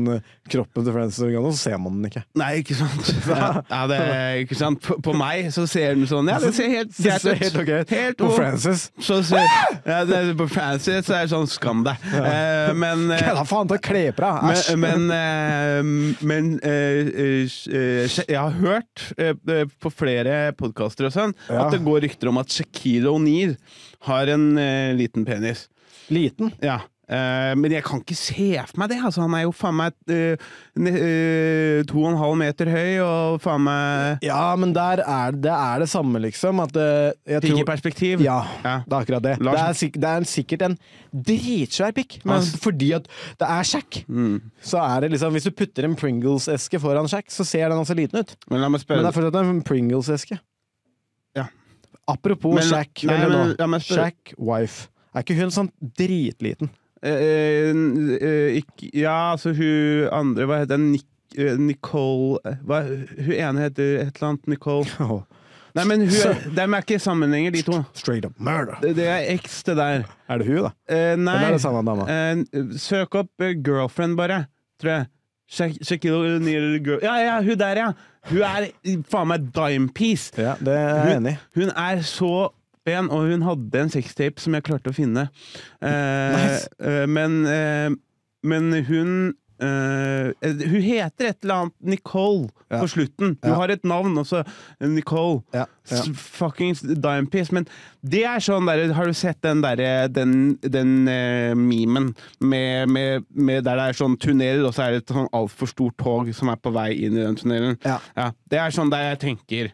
[SPEAKER 6] kroppen til Francis Organo, så ser man den ikke.
[SPEAKER 5] Nei, ikke sant? Ja, ja, det, ikke sant? På, på meg så ser den sånn Ja, det ser helt
[SPEAKER 6] Det
[SPEAKER 5] greit
[SPEAKER 6] ser
[SPEAKER 5] ut.
[SPEAKER 6] helt ok ut.
[SPEAKER 5] Helt
[SPEAKER 6] På
[SPEAKER 5] ok.
[SPEAKER 6] Francis
[SPEAKER 5] Så ser, ja, det, på Francis så er det sånn Skam deg. Eh, men eh,
[SPEAKER 6] Hva faen ta kle på deg?
[SPEAKER 5] Men,
[SPEAKER 6] Æsj.
[SPEAKER 5] men, eh, men eh, eh, eh, Jeg har hørt eh, på flere podkaster og sånn
[SPEAKER 6] Ja.
[SPEAKER 5] at det går rykter om at Shakira O'Neill har en eh, liten penis.
[SPEAKER 6] Liten.
[SPEAKER 5] Ja. Eh, men jeg kan ikke se for meg det. Altså, han er jo faen meg eh, ne- eh, to og en halv meter høy og faen meg
[SPEAKER 6] Ja, men der er det er det samme, liksom. At eh,
[SPEAKER 5] Fikk
[SPEAKER 6] jeg
[SPEAKER 5] i
[SPEAKER 6] tror
[SPEAKER 5] perspektiv.
[SPEAKER 6] ja,
[SPEAKER 5] Ja.
[SPEAKER 6] det er akkurat det. Det er,
[SPEAKER 5] Lars-
[SPEAKER 6] sikk- det er sikkert en dritsvær pikk, men
[SPEAKER 5] Ass.
[SPEAKER 6] fordi at det er Shack,
[SPEAKER 5] Mm.
[SPEAKER 6] så er det liksom Hvis du putter en Pringles-eske foran Shack, så ser den også liten ut.
[SPEAKER 5] Men la meg
[SPEAKER 6] Men
[SPEAKER 5] spørre
[SPEAKER 6] det er fortsatt en Pringles-eske.
[SPEAKER 5] Ja.
[SPEAKER 6] Apropos
[SPEAKER 5] Men-
[SPEAKER 6] Shack,
[SPEAKER 5] nei,
[SPEAKER 6] vent
[SPEAKER 5] men
[SPEAKER 6] litt
[SPEAKER 5] la
[SPEAKER 6] nå.
[SPEAKER 5] meg spørre-
[SPEAKER 6] Shack wife. Er ikke hun sånn dritliten?
[SPEAKER 5] Eh, n- eh, ikke, ja, altså hun andre Hva heter den? Nic- eh, Nicole eh, hva, Hun ene heter et eller annet Nicole
[SPEAKER 6] Åh,
[SPEAKER 5] Nei, men hun er, de er ikke sammenhenger, de to.
[SPEAKER 6] Oh, Straight up murder!
[SPEAKER 5] Det, det er X, det der.
[SPEAKER 6] Er det hun, da?
[SPEAKER 5] Eh, nei
[SPEAKER 6] Eller er det samme dama?
[SPEAKER 5] Eh, Søk opp eh, girlfriend, bare. Tror jeg. Shak- Shaquille O'Neal girl... Ja, ja, hun der, ja! Hun er i- faen meg dime piece!
[SPEAKER 6] Ja, det er jeg enig i.
[SPEAKER 5] Hun er så pen, og hun hadde en sextape som jeg klarte å finne. Eh,
[SPEAKER 6] Nice.
[SPEAKER 5] eh, men, eh, men hun eh, Hun heter et eller annet Nicole
[SPEAKER 6] Ja.
[SPEAKER 5] på slutten. Hun
[SPEAKER 6] Ja.
[SPEAKER 5] har et navn også. Nicole.
[SPEAKER 6] Ja, ja.
[SPEAKER 5] S- Fucking dime piece. Men det er sånn der, Har du sett den derre Den, den eh, memen med, med, med der det er sånn tunnel, og så er det et sånn altfor stort tog som er på vei inn i den tunnelen?
[SPEAKER 6] Ja.
[SPEAKER 5] det er sånn der jeg tenker.
[SPEAKER 6] Jeg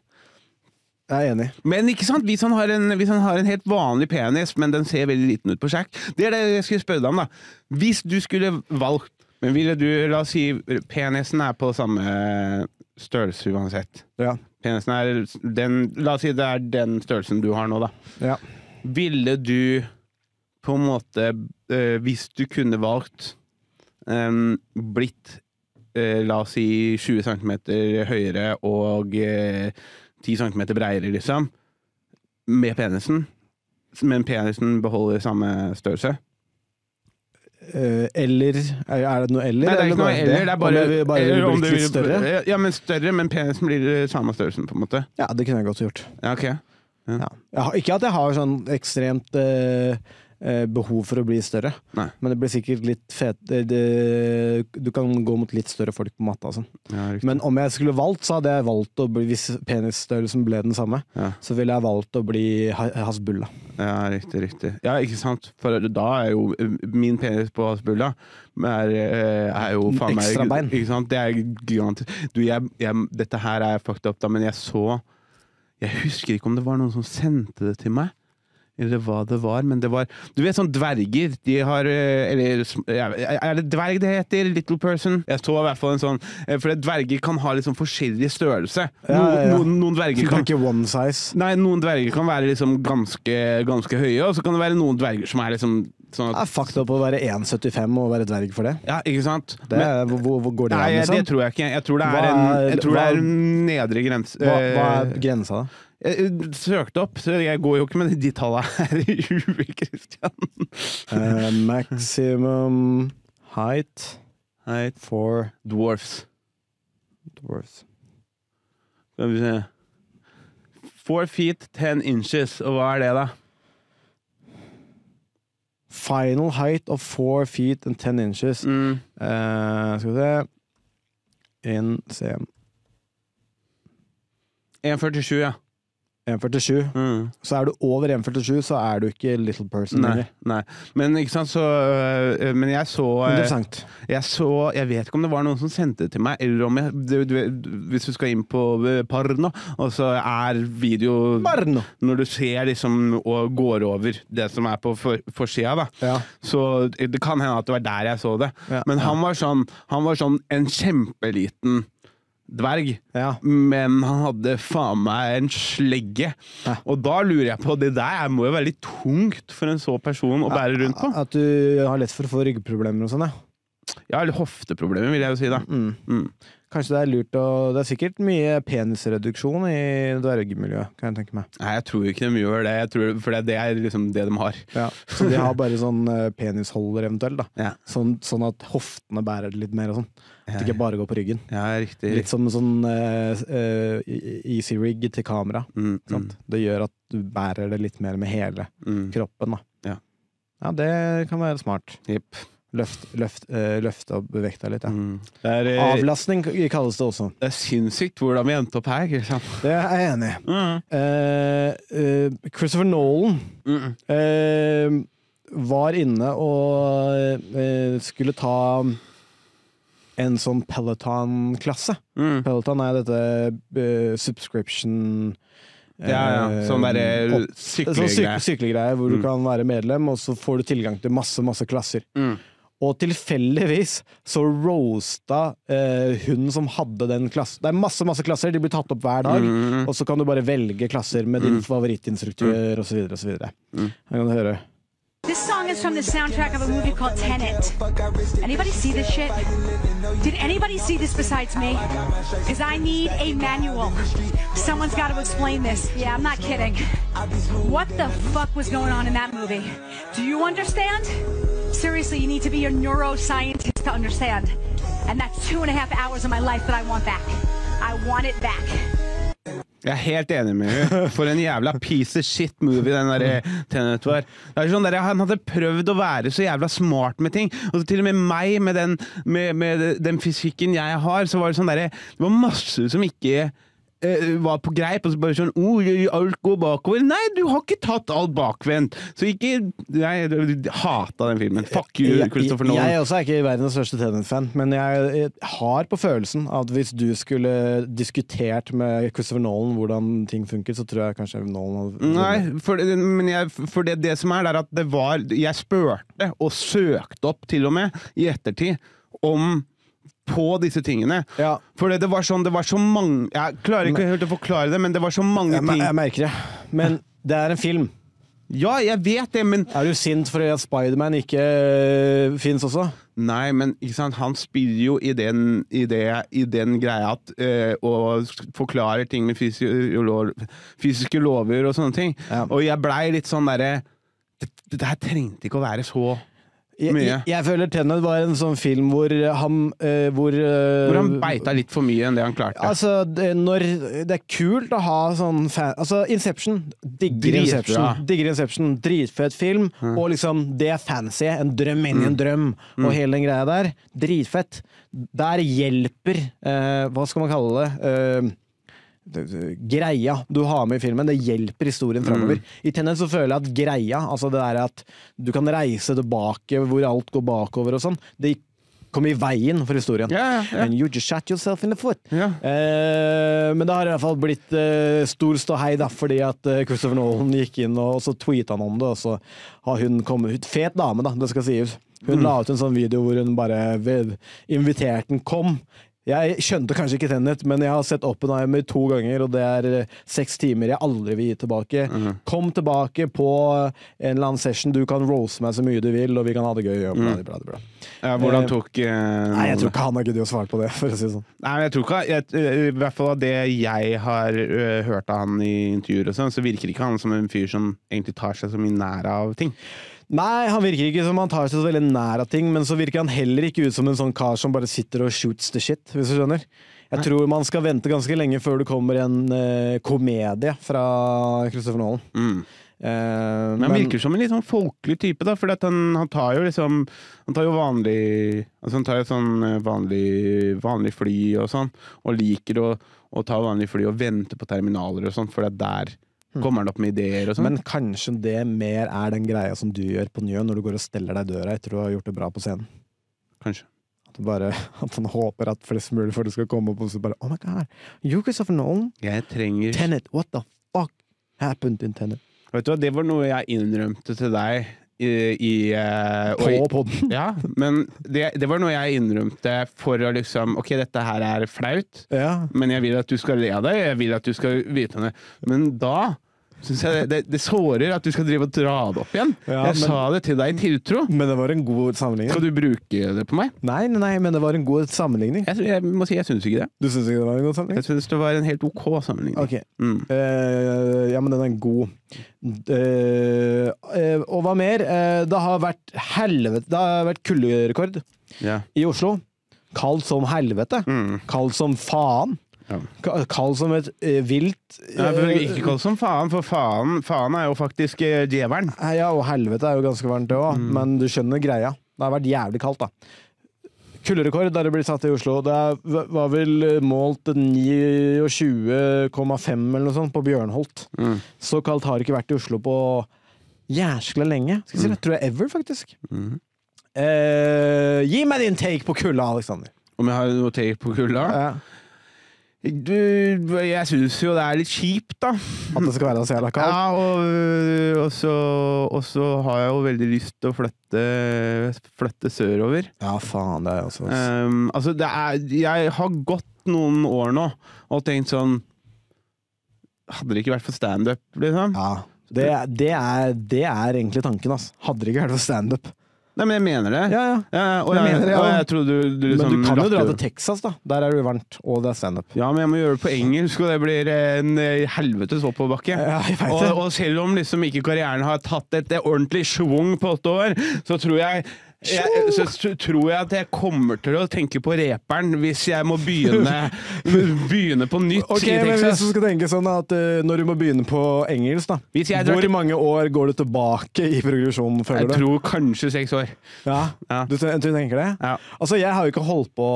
[SPEAKER 6] er enig.
[SPEAKER 5] Men ikke sant, hvis han, har en, hvis han har en helt vanlig penis, men den ser veldig liten ut på Shack Det er det jeg skulle spørre deg om, da. Hvis du skulle valgt Men ville du, la oss si penisen er på samme størrelse uansett.
[SPEAKER 6] Ja.
[SPEAKER 5] Penisen er den La oss si det er den størrelsen du har nå, da.
[SPEAKER 6] Ja.
[SPEAKER 5] Ville du på en måte, eh, hvis du kunne valgt, eh, blitt eh, la oss si 20 cm høyere og eh, 10 cm breiere, liksom, med penisen, men penisen beholder samme størrelse?
[SPEAKER 6] Eh, eller er er det noe eller?
[SPEAKER 5] Nei, det er ikke noe
[SPEAKER 6] bare
[SPEAKER 5] eller, det er bare,
[SPEAKER 6] om jeg vil bare
[SPEAKER 5] eller om
[SPEAKER 6] bli
[SPEAKER 5] du
[SPEAKER 6] litt
[SPEAKER 5] vil-
[SPEAKER 6] større?
[SPEAKER 5] Ja, men større, men penisen blir eh, samme størrelsen, på en måte.
[SPEAKER 6] Ja, det kunne jeg godt gjort.
[SPEAKER 5] Ja, ok.
[SPEAKER 6] Ja. Jeg har, ikke at jeg har sånn ekstremt eh, eh, behov for å bli større,
[SPEAKER 5] Nei.
[SPEAKER 6] men det blir sikkert litt fet... eh, det- Du kan gå mot litt større folk på matta og sånn.
[SPEAKER 5] Ja, riktig.
[SPEAKER 6] Men om jeg skulle valgt, så hadde jeg valgt å bli Hvis penisstørrelsen ble den samme,
[SPEAKER 5] Ja.
[SPEAKER 6] så ville jeg valgt å bli ha- Hasbulla.
[SPEAKER 5] ja, riktig, riktig. Ja, ikke sant? For da er jo eh, min penis på Hasbulla er, eh, er jo faen meg
[SPEAKER 6] Ekstra bein.
[SPEAKER 5] Ikke sant? Det er gigantisk. Du, jeg, jeg, dette her er fucked up, da, men jeg så Jeg husker ikke om det var noen som sendte det til meg. Eller hva det var, men det var Du vet sånn dverger, de har eh, Eller sm- ja, er det dverg det heter? Little person? Jeg så i hvert fall en sånn eh, For dverger kan ha liksom forskjellig størrelse.
[SPEAKER 6] Ja, ja, ja.
[SPEAKER 5] Noen, noen, noen
[SPEAKER 6] Du
[SPEAKER 5] dverger kan
[SPEAKER 6] kan ikke one size.
[SPEAKER 5] Nei, noen dverger kan være liksom ganske, ganske høye, og så kan det være noen dverger som er liksom sånn
[SPEAKER 6] Det
[SPEAKER 5] at
[SPEAKER 6] er fucked up å være 1,75 og være dverg for det.
[SPEAKER 5] Ja, ikke sant?
[SPEAKER 6] det er, hvor- hvor, hvor går det
[SPEAKER 5] Nei,
[SPEAKER 6] an,
[SPEAKER 5] jeg-
[SPEAKER 6] liksom?
[SPEAKER 5] det tror jeg ikke. Jeg tror det er,
[SPEAKER 6] Hva
[SPEAKER 5] en, jeg
[SPEAKER 6] er-
[SPEAKER 5] tror det
[SPEAKER 6] hva-
[SPEAKER 5] er en nedre grense.
[SPEAKER 6] Hva, hva er
[SPEAKER 5] Eh,
[SPEAKER 6] grensa, da?
[SPEAKER 5] jeg- jeg søkte opp, så jeg går jo ikke med de tallene her i huet, Christian.
[SPEAKER 6] Eh, maximum height
[SPEAKER 5] Nei,
[SPEAKER 6] for
[SPEAKER 5] dwarfs.
[SPEAKER 6] dwarfs.
[SPEAKER 5] Skal vi se. Four feet ten inches, og hva er det, da?
[SPEAKER 6] Final height of four feet and ten inches.
[SPEAKER 5] Mm.
[SPEAKER 6] Eh, skal vi se In cm
[SPEAKER 5] 1,47, ja.
[SPEAKER 6] 1,47.
[SPEAKER 5] Mm.
[SPEAKER 6] Så er du over 1,47, så er du ikke little person
[SPEAKER 5] Nei,
[SPEAKER 6] lenger.
[SPEAKER 5] nei. Men ikke sant, så øh, Men jeg så øh,
[SPEAKER 6] Interessant.
[SPEAKER 5] Jeg så, jeg vet ikke om det var noen som sendte det til meg, eller om jeg du, du, Hvis du skal inn på eh, Parno, og så er video
[SPEAKER 6] Barn!
[SPEAKER 5] Når du ser liksom og går over det som er på for- forsida, da.
[SPEAKER 6] Ja.
[SPEAKER 5] Så eh, det kan hende at det var der jeg så det.
[SPEAKER 6] Ja,
[SPEAKER 5] Men han var sånn Han var sånn en kjempeliten dverg.
[SPEAKER 6] Ja.
[SPEAKER 5] Men han hadde faen meg en slegge.
[SPEAKER 6] Ja.
[SPEAKER 5] Og da lurer jeg på Det der må jo være litt tungt for en så person å bære rundt på.
[SPEAKER 6] At du har lett for å få ryggproblemer og sånn, ja.
[SPEAKER 5] Ja, eller hofteproblemer, vil jeg jo si, da.
[SPEAKER 6] Mm.
[SPEAKER 5] Mm.
[SPEAKER 6] Kanskje det er lurt å Det er sikkert mye penisreduksjon i dvergmiljøet, kan jeg tenke meg.
[SPEAKER 5] Nei, jeg tror ikke de gjør det, jeg tror, for det, det er liksom det de har.
[SPEAKER 6] Ja. Så de har bare sånn eh, penisholder eventuelt, da.
[SPEAKER 5] Ja,
[SPEAKER 6] Sånn, sånn at hoftene bærer det litt mer og sånn. At det ikke bare går på ryggen.
[SPEAKER 5] ja riktig.
[SPEAKER 6] Litt som en sånn eh, eh, easy rig til kamera.
[SPEAKER 5] Mm,
[SPEAKER 6] ikke sant? Det gjør at du bærer det litt mer med hele
[SPEAKER 5] mm, mm.
[SPEAKER 6] kroppen, da.
[SPEAKER 5] Ja.
[SPEAKER 6] Ja, det kan være smart.
[SPEAKER 5] Jepp.
[SPEAKER 6] Løft, løft, eh, løfte opp vekta litt, ja.
[SPEAKER 5] Mm. Det er, eh,
[SPEAKER 6] Avlastning kalles det også.
[SPEAKER 5] det er sinnssykt hvordan vi endte opp her, Kristian.
[SPEAKER 6] Det er jeg enig i.
[SPEAKER 5] Mm.
[SPEAKER 6] Eh, eh, Christopher Nolan
[SPEAKER 5] Mm.
[SPEAKER 6] eh, var inne og eh, skulle ta en sånn Peloton-klasse.
[SPEAKER 5] Mm.
[SPEAKER 6] Peloton er dette eh, subscription eh,
[SPEAKER 5] Ja, ja. Sånn derre
[SPEAKER 6] opp- Sånn syk
[SPEAKER 5] syklegreie.
[SPEAKER 6] syklegreie hvor
[SPEAKER 5] Mm.
[SPEAKER 6] du kan være medlem, og så får du tilgang til masse, masse klasser.
[SPEAKER 5] Mm.
[SPEAKER 6] Og tilfeldigvis så roasta eh, hun som hadde den klassen Det er masse masse klasser, de blir tatt opp hver dag.
[SPEAKER 5] Mm.
[SPEAKER 6] Og så kan du bare velge klasser med din favorittinstruktør osv. osv.
[SPEAKER 5] Mm.
[SPEAKER 6] Her kan du høre.
[SPEAKER 10] This song is from the soundtrack of a movie called Tenet. Anybody see this shit? Did anybody see this besides me? Because I need a manual. Someone's got to explain this. Yeah, I'm not kidding. What the fuck was going on in that movie? Do you understand? Seriously, you need to be a neuroscientist to understand. And that's two and a half hours of my life that I want back. I want it back.
[SPEAKER 5] Jeg er helt enig med henne. For en jævla piece of shit movie den der eh, Tenet var. Det er sånn der, Han hadde prøvd å være så jævla smart med ting. Og til og med meg, med den, med, med den fysikken jeg har, så var det sånn derre Det var masse som ikke eh, var på greip, og så bare sånn oh, Alt går bakover. Nei, du har ikke tatt alt bakvendt! Så ikke Jeg, jeg hata den filmen. Fuck you, Christopher
[SPEAKER 6] Jeg, jeg
[SPEAKER 5] Nolan.
[SPEAKER 6] også er ikke verdens største Tenet-fan, men jeg, jeg har på følelsen at hvis du skulle diskutert med Christopher Nolan hvordan ting funker, så tror jeg kanskje Nolan hadde
[SPEAKER 5] Nei, for, det- men jeg, for det, det som er, det er at det var Jeg spurte, og søkte opp til og med, i ettertid, om på disse tingene.
[SPEAKER 6] Ja.
[SPEAKER 5] For det, det var sånn, det var så mange Jeg klarer ikke helt å forklare det, men det var så mange
[SPEAKER 6] Jeg, mer-
[SPEAKER 5] ting
[SPEAKER 6] jeg merker det. Men det er en film.
[SPEAKER 5] Ja, jeg vet det, men
[SPEAKER 6] Er du sint for at Spiderman ikke øh, fins også?
[SPEAKER 5] Nei, men ikke sant? han spiller jo i den, i det, i den greia at eh, Og forklarer ting med fysiolo- fysiske lover og sånne ting.
[SPEAKER 6] Ja.
[SPEAKER 5] Og jeg blei litt sånn derre det, det her trengte ikke å være så
[SPEAKER 6] Jeg,
[SPEAKER 5] Mye.
[SPEAKER 6] jeg, jeg føler Tenet var en sånn film hvor han øh, Hvor, øh,
[SPEAKER 5] Hvor han beita litt for mye enn det han klarte.
[SPEAKER 6] Altså, det, når Det er kult å ha sånn fan... Altså, Inception. Digger
[SPEAKER 5] Dritbra.
[SPEAKER 6] Inception. Digger Inception. Dritfet film. Og liksom, det er fancy. En drøm inni
[SPEAKER 5] Mm.
[SPEAKER 6] en drøm. Og hele den greia der. Dritfett. Der hjelper eh, Hva skal man kalle det? Eh, det- det- Greia du har med i filmen, det hjelper historien framover.
[SPEAKER 5] Mm.
[SPEAKER 6] I Tenet så føler jeg at greia, altså det der at du kan reise tilbake hvor alt går bakover og sånn, det kom i veien for historien.
[SPEAKER 5] Ja, ja, ja.
[SPEAKER 6] And you just shot yourself in the foot.
[SPEAKER 5] Ja.
[SPEAKER 6] Eh, men det har i hvert fall blitt eh, stor ståhei, da, fordi at eh, Christopher Nolan gikk inn og og så tweeta han om det, og så har hun kommet ut. Fet dame, da, det skal sies. Hun la ut en sånn video hvor hun bare ved- inviterte den kom. Jeg skjønte kanskje ikke Tenet, men jeg har sett Oppenheimer to ganger, og det er eh, seks timer jeg aldri vil gi tilbake. Kom tilbake på eh, en eller annen session, du kan roase meg så mye du vil, og vi kan ha det gøy. Og bla, bla, bla.
[SPEAKER 5] ja, hvordan
[SPEAKER 6] eh,
[SPEAKER 5] tok eh,
[SPEAKER 6] Nei, jeg
[SPEAKER 5] noen-
[SPEAKER 6] tror ikke han har giddet å svare på det, for å si det sånn.
[SPEAKER 5] Nei, men jeg tror ikke jeg, eh, I hvert fall av det jeg har eh, hørt av han i intervjuer, og sånn, så virker ikke han som en fyr som egentlig tar seg så mye nær av ting.
[SPEAKER 6] Nei, han virker ikke som han tar seg så veldig nær av ting, men så virker han heller ikke ut som en sånn kar som bare sitter og shoots the shit, hvis du skjønner. Jeg tror man skal vente ganske lenge før det kommer en eh, komedie fra Christopher Nolan. Eh,
[SPEAKER 5] Mm. Men han virker som en litt sånn folkelig type, da, for at han, han tar jo liksom Han tar jo vanlig altså Han tar jo sånn eh, vanlig, vanlig fly og sånn, og liker å, å ta vanlig fly og vente på terminaler og sånn, for at der kommer han opp med ideer og sånn.
[SPEAKER 6] Mm. men kanskje det mer er den greia som du gjør på Njø når du går og steller deg i døra etter du har gjort det bra på scenen.
[SPEAKER 5] Kanskje.
[SPEAKER 6] At, du bare, at han håper at flest mulig folk skal komme opp og så bare Oh my god, you Christopher Nolan?
[SPEAKER 5] Jeg trenger
[SPEAKER 6] Tenet, what the fuck happened in Tenet?
[SPEAKER 5] Vet du hva, det var noe jeg innrømte til deg i, i eh,
[SPEAKER 6] På
[SPEAKER 5] og-
[SPEAKER 6] podden.
[SPEAKER 5] Ja, men det, det var noe jeg innrømte for å liksom Ok, dette her er flaut,
[SPEAKER 6] Ja.
[SPEAKER 5] men jeg vil at du skal le av det. Jeg vil at du skal vite om det. Men da Synes jeg det, det, det sårer at du skal drive og dra det opp igjen.
[SPEAKER 6] Ja,
[SPEAKER 5] jeg
[SPEAKER 6] men-
[SPEAKER 5] sa det til deg i en tiltro.
[SPEAKER 6] Men det var en god sammenligning.
[SPEAKER 5] Skal du bruke det på meg?
[SPEAKER 6] Nei, nei, nei, men det var en god sammenligning.
[SPEAKER 5] Jeg, jeg må si jeg syns ikke det.
[SPEAKER 6] Du syns ikke det var en god sammenligning?
[SPEAKER 5] Jeg syns det var en helt OK sammenligning.
[SPEAKER 6] Ok.
[SPEAKER 5] Mm.
[SPEAKER 6] Eh, ja, men den er god. Eh, eh, og hva mer? Eh, det har vært helvete Det har vært kulderekord
[SPEAKER 5] Ja. Mm.
[SPEAKER 6] i Oslo. Kald som helvete. Kald som faen.
[SPEAKER 5] Ja.
[SPEAKER 6] Ka- Kald som et eh, vilt
[SPEAKER 5] Nei, for
[SPEAKER 6] eh,
[SPEAKER 5] ikke kall det som faen, for faen, faen er jo faktisk eh, djevelen.
[SPEAKER 6] Nei, Ja, og helvete er jo ganske varmt det òg, men du skjønner greia. Det har vært jævlig kaldt, da. Kulderekord der det blir satt i Oslo. Det er- var vel eh, målt 29,5 eller noe sånt på Bjørnholt. Så kaldt har det ikke vært i Oslo på jæskla lenge. Skal jeg si det? Tror jeg ever, faktisk. Eh, gi meg din take på kulda, Eh, Aleksander.
[SPEAKER 5] Om jeg har noe take på kulda?
[SPEAKER 6] Ja.
[SPEAKER 5] Du, jeg syns jo det er litt kjipt, da.
[SPEAKER 6] At det skal være så jævla kaldt.
[SPEAKER 5] Ja, og, øh, og, så, og så har jeg jo veldig lyst til å flytte, flytte sørover.
[SPEAKER 6] Ja, faen, det er jo også
[SPEAKER 5] Ehm, altså, det er Jeg har gått noen år nå og tenkt sånn Hadde det ikke vært for standup, liksom?
[SPEAKER 6] ja. det, det, er, det er egentlig tanken, altså. Hadde det ikke vært for standup.
[SPEAKER 5] Nei, men jeg mener det.
[SPEAKER 6] Ja, ja.
[SPEAKER 5] Ja, og,
[SPEAKER 6] Jeg
[SPEAKER 5] jeg,
[SPEAKER 6] mener det, ja.
[SPEAKER 5] og jeg trodde du, du liksom
[SPEAKER 6] Men du kan jo
[SPEAKER 5] latter-
[SPEAKER 6] dra til Texas, da. Der er det jo varmt, og det er standup.
[SPEAKER 5] Ja, men jeg må gjøre det på engelsk, og det blir en eh, helvetes oppoverbakke.
[SPEAKER 6] Ja, jeg vet
[SPEAKER 5] og,
[SPEAKER 6] det.
[SPEAKER 5] og selv om liksom ikke karrieren har tatt et eh, ordentlig schwung på åtte år, så tror jeg jeg, så tr- tror jeg at jeg kommer til å tenke på reperen hvis jeg må begynne, begynne på nytt
[SPEAKER 6] Ok,
[SPEAKER 5] i
[SPEAKER 6] men Hvis
[SPEAKER 5] Texas.
[SPEAKER 6] du skal tenke sånn at eh, når du må begynne på engelsk, da
[SPEAKER 5] Hvis jeg drar
[SPEAKER 6] Hvor
[SPEAKER 5] til-
[SPEAKER 6] mange år går du tilbake i progresjonen, føler
[SPEAKER 5] Jeg
[SPEAKER 6] du?
[SPEAKER 5] tror kanskje seks år.
[SPEAKER 6] Ja,
[SPEAKER 5] Ja.
[SPEAKER 6] Du, ten- du tenker det?
[SPEAKER 5] Ja.
[SPEAKER 6] Altså, jeg har jo ikke holdt på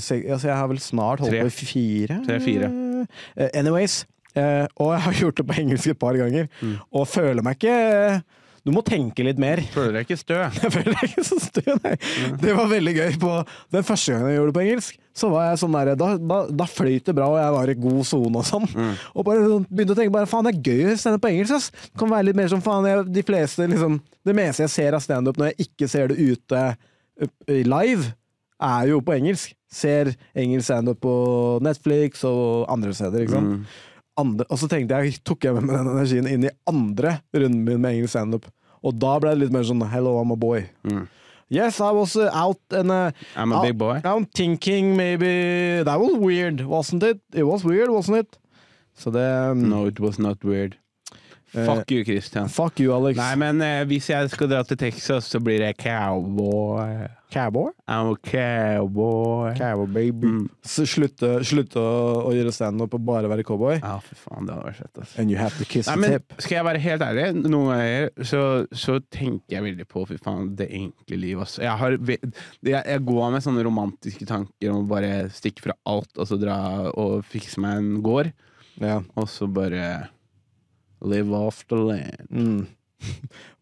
[SPEAKER 6] se- altså, Jeg har vel snart holdt
[SPEAKER 5] Tre.
[SPEAKER 6] på i fire?
[SPEAKER 5] Tre, fire.
[SPEAKER 6] Eh, anyways. eh, og jeg har gjort det på engelsk et par ganger,
[SPEAKER 5] Mm.
[SPEAKER 6] og føler meg ikke Du må tenke litt mer.
[SPEAKER 5] Føler deg ikke stø.
[SPEAKER 6] Jeg føler jeg ikke så stø, nei. Det var veldig gøy. På, den første gangen jeg gjorde det på engelsk, så var jeg sånn der, da, da, da fløyt det bra, og jeg var i god sone og sånn. Og bare sånn, begynte å tenke bare, faen, det er gøy å stande på engelsk. ass. Det kan være litt mer som faen, jeg, de fleste, liksom, det meste jeg ser av standup når jeg ikke ser det ute eh, live, er jo på engelsk. Ser engelsk standup på Netflix og andre steder, ikke sant. Andre, og så tenkte jeg, tok jeg med meg den energien inn i andre runden min med engelsk standup. Og da ble det litt mer sånn Hello, I'm a boy. Yes, I was uh, out and uh,
[SPEAKER 5] Mm. I'm a
[SPEAKER 6] I-
[SPEAKER 5] big boy.
[SPEAKER 6] I'm thinking maybe That was weird, wasn't it? It was weird, wasn't it? Så det um,
[SPEAKER 5] No, it was not weird. Fuck you, Christian.
[SPEAKER 6] Eh, Fuck you, Alex.
[SPEAKER 5] Nei, men eh, hvis jeg skal dra til Texas, så blir jeg cowboy.
[SPEAKER 6] Cowboy?
[SPEAKER 5] I'm a cowboy.
[SPEAKER 6] Cowboy, baby.
[SPEAKER 5] Mm.
[SPEAKER 6] Så slutte, slutte å, å gjøre standup og bare være cowboy.
[SPEAKER 5] Ja, fy faen, det hadde vært fett, altså.
[SPEAKER 6] And you have to kiss
[SPEAKER 5] Ah. Nei,
[SPEAKER 6] the
[SPEAKER 5] men
[SPEAKER 6] tip.
[SPEAKER 5] skal jeg være helt ærlig, noen ganger så, så tenker jeg veldig på fy faen, det enkle liv. Altså. Jeg, har, ve- jeg, jeg går med sånne romantiske tanker om å bare stikke fra alt og så dra og fikse meg en gård.
[SPEAKER 6] Ja.
[SPEAKER 5] Og så bare live off the land.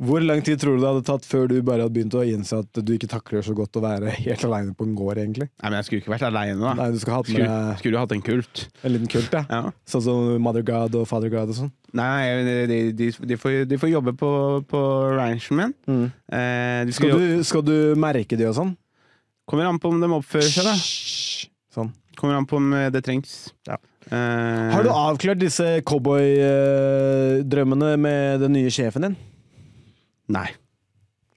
[SPEAKER 6] Hvor lang tid tror du det hadde tatt før du bare hadde begynt å innse at du ikke takler så godt å være helt aleine på en gård, egentlig?
[SPEAKER 5] Nei, men jeg skulle ikke vært aleine, da.
[SPEAKER 6] Nei, du skal ha hatt
[SPEAKER 5] skulle,
[SPEAKER 6] med
[SPEAKER 5] skulle jo hatt en Ah, kult.
[SPEAKER 6] en liten kult, ja.
[SPEAKER 5] Ja.
[SPEAKER 6] Sånn som Mother God og Father God og sånn.
[SPEAKER 5] Nei, de, de, de, de, får, de får jobbe på, på ranchen min. Eh, de skal
[SPEAKER 6] Skal
[SPEAKER 5] jo-
[SPEAKER 6] du, skal du merke det og sånn?
[SPEAKER 5] Kommer an på om de oppfører seg, da.
[SPEAKER 6] Sånn.
[SPEAKER 5] Kommer an på om eh, det trengs.
[SPEAKER 6] Ja.
[SPEAKER 5] Eh,
[SPEAKER 6] Har du avklart disse cowboydrømmene med den nye sjefen din?
[SPEAKER 5] Nei.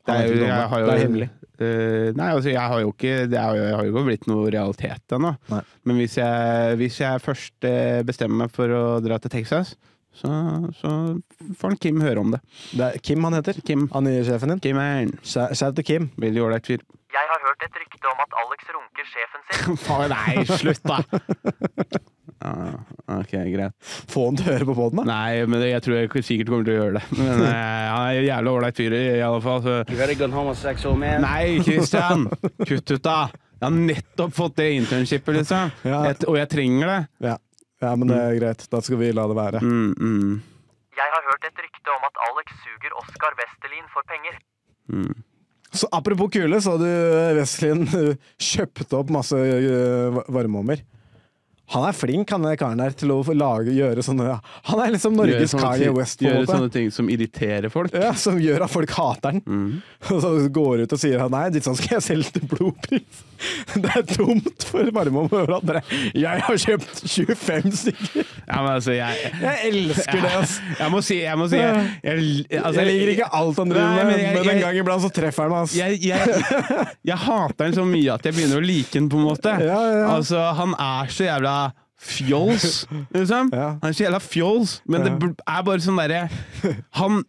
[SPEAKER 5] Det
[SPEAKER 6] Han
[SPEAKER 5] er,
[SPEAKER 6] vet
[SPEAKER 5] jo,
[SPEAKER 6] ikke om
[SPEAKER 5] jeg
[SPEAKER 6] det.
[SPEAKER 5] har jo,
[SPEAKER 6] Det er hemmelig.
[SPEAKER 5] Eh, nei, altså, jeg har jo ikke Det har jo, jeg har jo ikke blitt noe realitet ennå.
[SPEAKER 6] Nei.
[SPEAKER 5] Men hvis jeg, hvis jeg først eh, bestemmer meg for å dra til Texas, så, så får han Kim høre om det.
[SPEAKER 6] Det er Kim han heter.
[SPEAKER 5] Kim.
[SPEAKER 6] Han nye sjefen din.
[SPEAKER 5] Kim er en
[SPEAKER 6] Shout shout til Kim.
[SPEAKER 5] veldig ålreit fyr.
[SPEAKER 11] Jeg har hørt et rykte om at Alex runker sjefen sin.
[SPEAKER 5] Faen, nei, slutt, da! Ah, ok, greit.
[SPEAKER 6] Få han til å høre på poden, da.
[SPEAKER 5] Nei, men jeg tror jeg sikkert kommer til å gjøre det. Men eh, han er en jævlig ålreit fyr, i alle fall. Så. Nei, Christian! Kutt ut, da! Jeg har nettopp fått det internshipet, liksom.
[SPEAKER 6] Ja.
[SPEAKER 5] Jeg, og jeg trenger det.
[SPEAKER 6] Ja. ja, men det er greit. Da skal vi la det være.
[SPEAKER 5] Mm, mm.
[SPEAKER 11] Jeg har hørt et rykte om at Alex suger Oskar Westerlin for penger.
[SPEAKER 5] Mm.
[SPEAKER 6] Så apropos kule, eh, så hadde Westlin kjøpt opp masse ø, eh, varmeovner. Han er flink, han der karen der, til å få lage, gjøre sånne Han er liksom
[SPEAKER 5] Gjøre
[SPEAKER 6] Norges
[SPEAKER 5] sånne
[SPEAKER 6] Kanye
[SPEAKER 5] ting-
[SPEAKER 6] West, på en
[SPEAKER 5] Gjøre
[SPEAKER 6] måte.
[SPEAKER 5] sånne ting som irriterer folk.
[SPEAKER 6] Ja, som gjør at folk hater den. Og så går ut og sier han nei, ditt sånn skal jeg selge til blodpris. Det er dumt for Varmum å høre at dere Jeg har kjøpt 25 stykker!
[SPEAKER 5] Ja, men altså, jeg,
[SPEAKER 6] Jeg elsker det, ass!
[SPEAKER 5] jeg må si, jeg, må si, jeg, jeg, altså,
[SPEAKER 6] jeg liker ikke alt han
[SPEAKER 5] Nei,
[SPEAKER 6] driver med,
[SPEAKER 5] men
[SPEAKER 6] men,
[SPEAKER 5] jeg-
[SPEAKER 6] en
[SPEAKER 5] jeg-
[SPEAKER 6] gang iblant så treffer han meg, ass.
[SPEAKER 5] jeg, jeg, jeg hater han så mye at jeg begynner å like han, på en måte.
[SPEAKER 6] Ja, ja, ja.
[SPEAKER 5] Altså, han er så jævla fjols, liksom.
[SPEAKER 6] Ja.
[SPEAKER 5] Han er så jævla fjols, men det
[SPEAKER 6] Ja.
[SPEAKER 5] bl- er bare sånn derre han,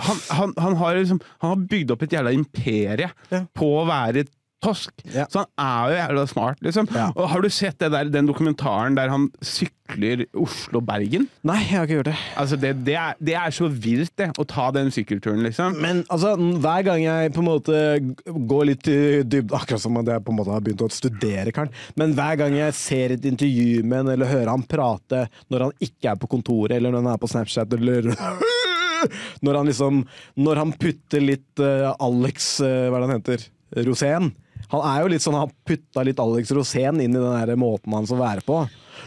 [SPEAKER 5] han, han, han, har liksom, han har bygd opp et jævla imperie
[SPEAKER 6] Ja.
[SPEAKER 5] på å være tosk.
[SPEAKER 6] Ja.
[SPEAKER 5] Så han er jo jævla smart, liksom.
[SPEAKER 6] Ja.
[SPEAKER 5] Og har du sett det der, den dokumentaren der han sykler Oslo-Bergen?
[SPEAKER 6] Nei, jeg har ikke gjort det.
[SPEAKER 5] Altså, det, det, er, det er så vilt, det, å ta den sykkelturen, liksom.
[SPEAKER 6] Men altså, n- hver gang jeg på en måte g- går litt i dybden Akkurat som at jeg på en måte har begynt å studere, Karen. Men hver gang jeg ser et intervju med en, eller hører han prate når han ikke er på kontoret, eller når han er på Snapchat, eller Når han liksom Når han putter litt eh, Alex eh, Hva er det han heter? Rosén. Han er jo litt sånn, han putta litt Alex Rosén inn i den der måten han skal være på.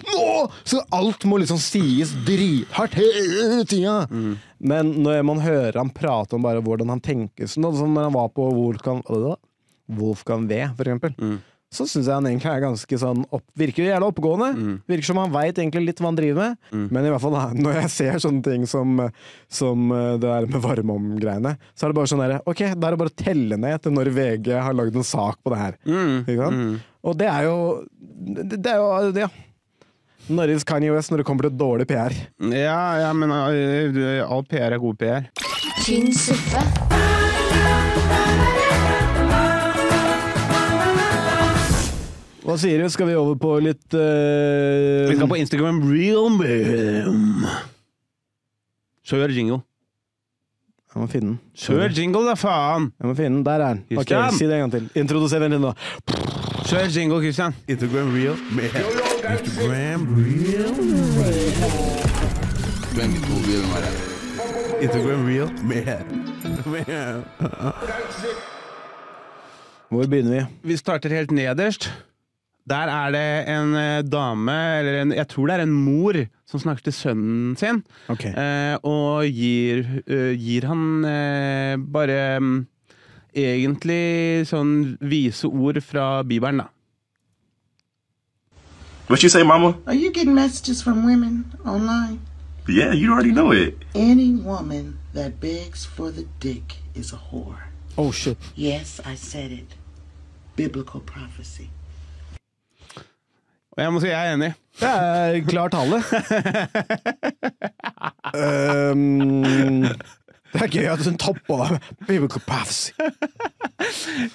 [SPEAKER 6] Nå! Så alt må liksom sies drithardt hele tida! Men når man hører han prate om bare hvordan han tenker sånn, da, som når han var på Wolfgang, Wolfgang V, for eksempel, så syns jeg han egentlig er ganske sånn opp, Virker jævla oppegående. Virker som han veit egentlig litt hva han driver med. Men i hvert fall da, når jeg ser sånne ting som, som eh, det der med varmeom-greiene, så er det bare sånn derre Ok, da er det bare å telle ned til når VG har lagd en sak på det her. Ikke sant? Og det er jo Det, det er jo Ja. Norges Kanye West når det kommer til dårlig PR.
[SPEAKER 5] Ja, ja, men uh, all PR er god PR.
[SPEAKER 4] Tynn suppe.
[SPEAKER 6] Hva sier du? Skal vi over på litt eh,
[SPEAKER 5] Vi skal på Instagram Realm. Kjør jingle.
[SPEAKER 6] Jeg må finne den.
[SPEAKER 5] Kjør jingle, da faen!
[SPEAKER 6] Jeg må finne den. Der er den. Ok,
[SPEAKER 5] Christian!
[SPEAKER 6] Si det en gang til. Introduser vennen din nå.
[SPEAKER 5] Kjør jingle, Christian.
[SPEAKER 3] Instagram real. Instagram real. Instagram real.
[SPEAKER 6] Hvor begynner vi?
[SPEAKER 5] Vi starter helt nederst. Der er det en eh, dame, eller en, jeg tror det er en mor, som snakker til sønnen sin.
[SPEAKER 6] Ok.
[SPEAKER 5] eh, og gir, eh, gir han eh, bare mm, egentlig sånn vise ord fra Bibelen, da.
[SPEAKER 12] What you say, mama?
[SPEAKER 13] Are you getting messages from women online?
[SPEAKER 12] Yeah, you already know it.
[SPEAKER 13] Any woman that begs for the dick is a whore.
[SPEAKER 6] Oh shit.
[SPEAKER 13] Yes, I said it. Biblical prophecy.
[SPEAKER 5] Og jeg må si jeg er enig.
[SPEAKER 6] Det er klar tale. um, det er gøy at hun topper det. Biblical prophecy.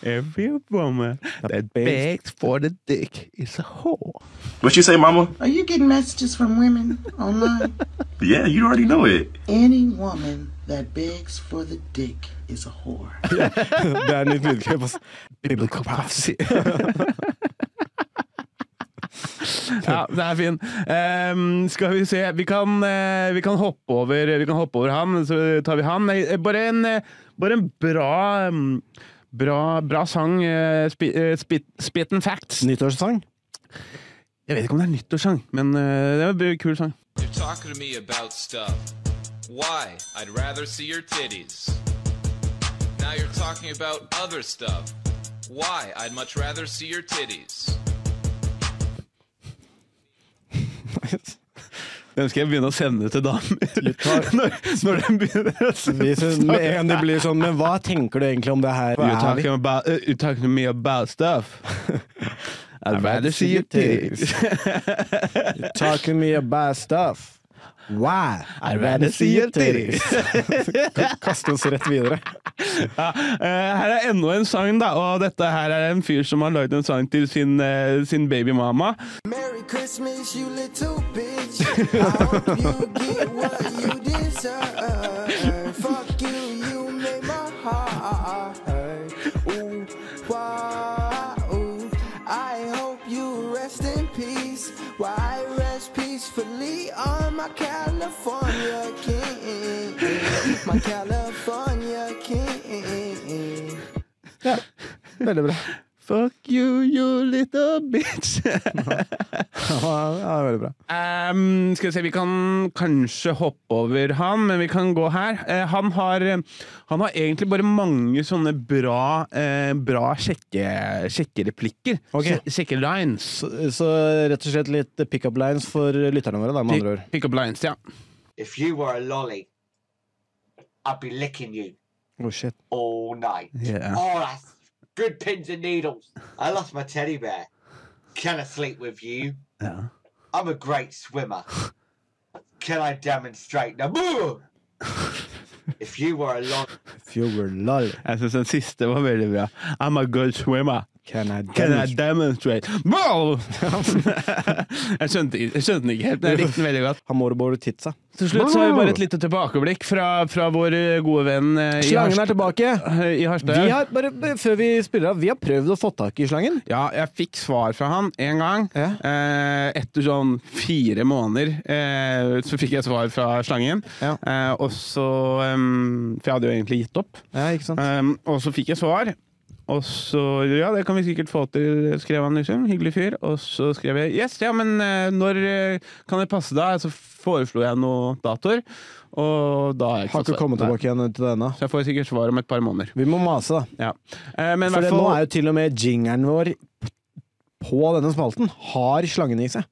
[SPEAKER 5] Every woman that begs for the dick is a whore.
[SPEAKER 12] What you say, mama?
[SPEAKER 13] Are you getting messages from women online?
[SPEAKER 12] Yeah, you already know it.
[SPEAKER 13] Any woman that begs for the dick is a whore.
[SPEAKER 6] Det er nytt lydklipp. ass. Biblical prophecy.
[SPEAKER 5] Ja, det er fin. Ehm, skal vi se vi kan, eh, vi, kan hoppe over, vi kan hoppe over han, så tar vi han. Nei, eh, Bare en, eh, bare en bra mm, Bra, bra sang. eh, spi- eh, spit, spit and facts.
[SPEAKER 6] Nyttårssang?
[SPEAKER 5] Jeg vet ikke om det er nyttårssang, men eh, det var en kul sang.
[SPEAKER 14] You're talking to me about stuff. Why? I'd rather see your titties. Now you're talking about other stuff. Why? I'd much rather see your titties.
[SPEAKER 5] Den skal jeg begynne å sende til damer. Når, når den begynner å
[SPEAKER 6] Vi synes med en det blir sånn, men hva tenker du egentlig om det her?
[SPEAKER 5] You're
[SPEAKER 6] Hva er
[SPEAKER 5] talking,
[SPEAKER 6] vi?
[SPEAKER 5] about, uh, you're talking to me about stuff. I'd rather see your titties.
[SPEAKER 6] You're talking me about stuff. Why?
[SPEAKER 5] I'd rather see your titties.
[SPEAKER 6] Kaste oss rett videre.
[SPEAKER 5] Ja, eh, her er enda en sang, da. Og dette her er en fyr som har lagd en sang til sin, eh, sin babymama.
[SPEAKER 7] Merry Christmas, you little bitch. I hope you get what you deserve. Fuck you, you made my heart hurt. Ooh, wah, ooh. I hope you rest in peace. While I rest peacefully on my California king. My California king.
[SPEAKER 6] Veldig bra.
[SPEAKER 5] Fuck you, you little bitch.
[SPEAKER 6] Ja, veldig bra.
[SPEAKER 5] Ehm, skal vi se, vi kan kanskje hoppe over han, men vi kan gå her. Eh, han, har, han har egentlig bare mange sånne bra, eh, bra sjekke, sjekkereplikker.
[SPEAKER 6] Ok.
[SPEAKER 5] Sje- Sjekkelines.
[SPEAKER 6] Så, så rett og slett litt pick-up lines for lytterne våre, da, med andre ord.
[SPEAKER 5] Pick up lines, ja.
[SPEAKER 15] If you were a lolly, I'd be licking you
[SPEAKER 6] Oh, shit.
[SPEAKER 15] all night.
[SPEAKER 6] Yeah.
[SPEAKER 15] Oh, that's good pins and needles. I lost my teddy bear. Can I sleep with you?
[SPEAKER 5] Ja.
[SPEAKER 15] I'm a great swimmer. Can I demonstrate now? Boo! if you were a lolly,
[SPEAKER 5] Jeg syns den siste var veldig bra. I'm a good swimmer.
[SPEAKER 6] Can I
[SPEAKER 5] Can I demonstrate? Bro! jeg, skjønte, jeg skjønte den ikke helt, men jeg likte den veldig godt.
[SPEAKER 6] Han må bare titsa.
[SPEAKER 5] Til slutt så har vi bare et lite tilbakeblikk fra, fra vår gode venn eh, i
[SPEAKER 6] Slangen er
[SPEAKER 5] Harstad.
[SPEAKER 6] tilbake!
[SPEAKER 5] I Harstad.
[SPEAKER 6] Vi har, bare b- før vi spiller av, vi har prøvd å få tak i slangen.
[SPEAKER 5] Ja, jeg fikk svar fra han en gang. Eh, etter sånn fire måneder eh, så fikk jeg svar fra slangen. Eh, og så em, For jeg hadde jo egentlig gitt opp.
[SPEAKER 6] Eh,
[SPEAKER 5] Em, Ehm, og så fikk jeg svar. Og så Ja, det kan vi sikkert få til, skrev han. liksom, Hyggelig fyr. Og så skrev jeg yes, ja, men eh, når eh, kan det passe da? Så foreslo jeg noen datoer. Og da har jeg
[SPEAKER 6] Har
[SPEAKER 5] fått
[SPEAKER 6] ikke
[SPEAKER 5] svar.
[SPEAKER 6] kommet
[SPEAKER 5] Nei.
[SPEAKER 6] tilbake igjen til denne.
[SPEAKER 5] Så jeg får sikkert svar om et par måneder.
[SPEAKER 6] Vi må mase, da.
[SPEAKER 5] Ja. Eh, men i
[SPEAKER 6] For
[SPEAKER 5] hvert
[SPEAKER 6] det,
[SPEAKER 5] fall-
[SPEAKER 6] nå er jo til og med jingeren vår på denne spalten har slangen i seg.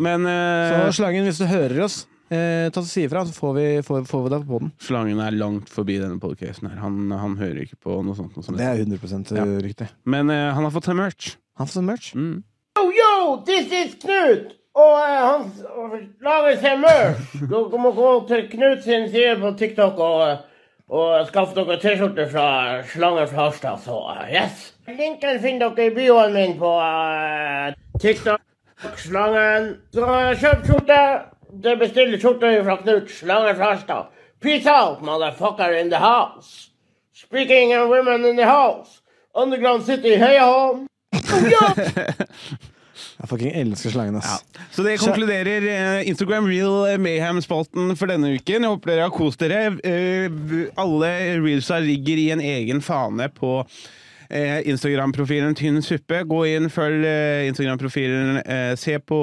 [SPEAKER 5] Men eh,
[SPEAKER 6] Så slangen, hvis du hører oss, eh, ta og si ifra, så får vi, får, får vi deg på den.
[SPEAKER 5] Slangen er langt forbi denne podcasten her. Han, han hører ikke på noe sånt. Noe sånt.
[SPEAKER 6] Det er 100
[SPEAKER 5] Ja.
[SPEAKER 6] riktig.
[SPEAKER 5] Men eh, han har fått seg merch.
[SPEAKER 6] Han får merch?
[SPEAKER 5] Mm.
[SPEAKER 16] Yo, yo, this is Knut! Og eh, han s- og lager seg merch. Dere må gå til Knut sin side på TikTok og, eh, og skaffe dere T-skjorte fra Slangen fra Harstad. Så eh, yes! Linken finner dere i bioen min på eh, TikTok. Slangen. Så eh, kjøp skjorte. Det bestiller skjorte fra Knut. Slangen fra Harstad. Peace out, motherfucker in the house. Speaking of women in the house. Underground City, heia home.
[SPEAKER 6] Jeg fucking elsker slangen, ass.
[SPEAKER 5] Så det konkluderer eh, Instagram Real Mayhem-spalten for denne uken. Jeg håper dere har kost dere. Eh, alle reelsa ligger i en egen fane på eh, Instagram-profilen Tynn suppe. Gå inn, følg eh, Instagram-profilen. eh, se på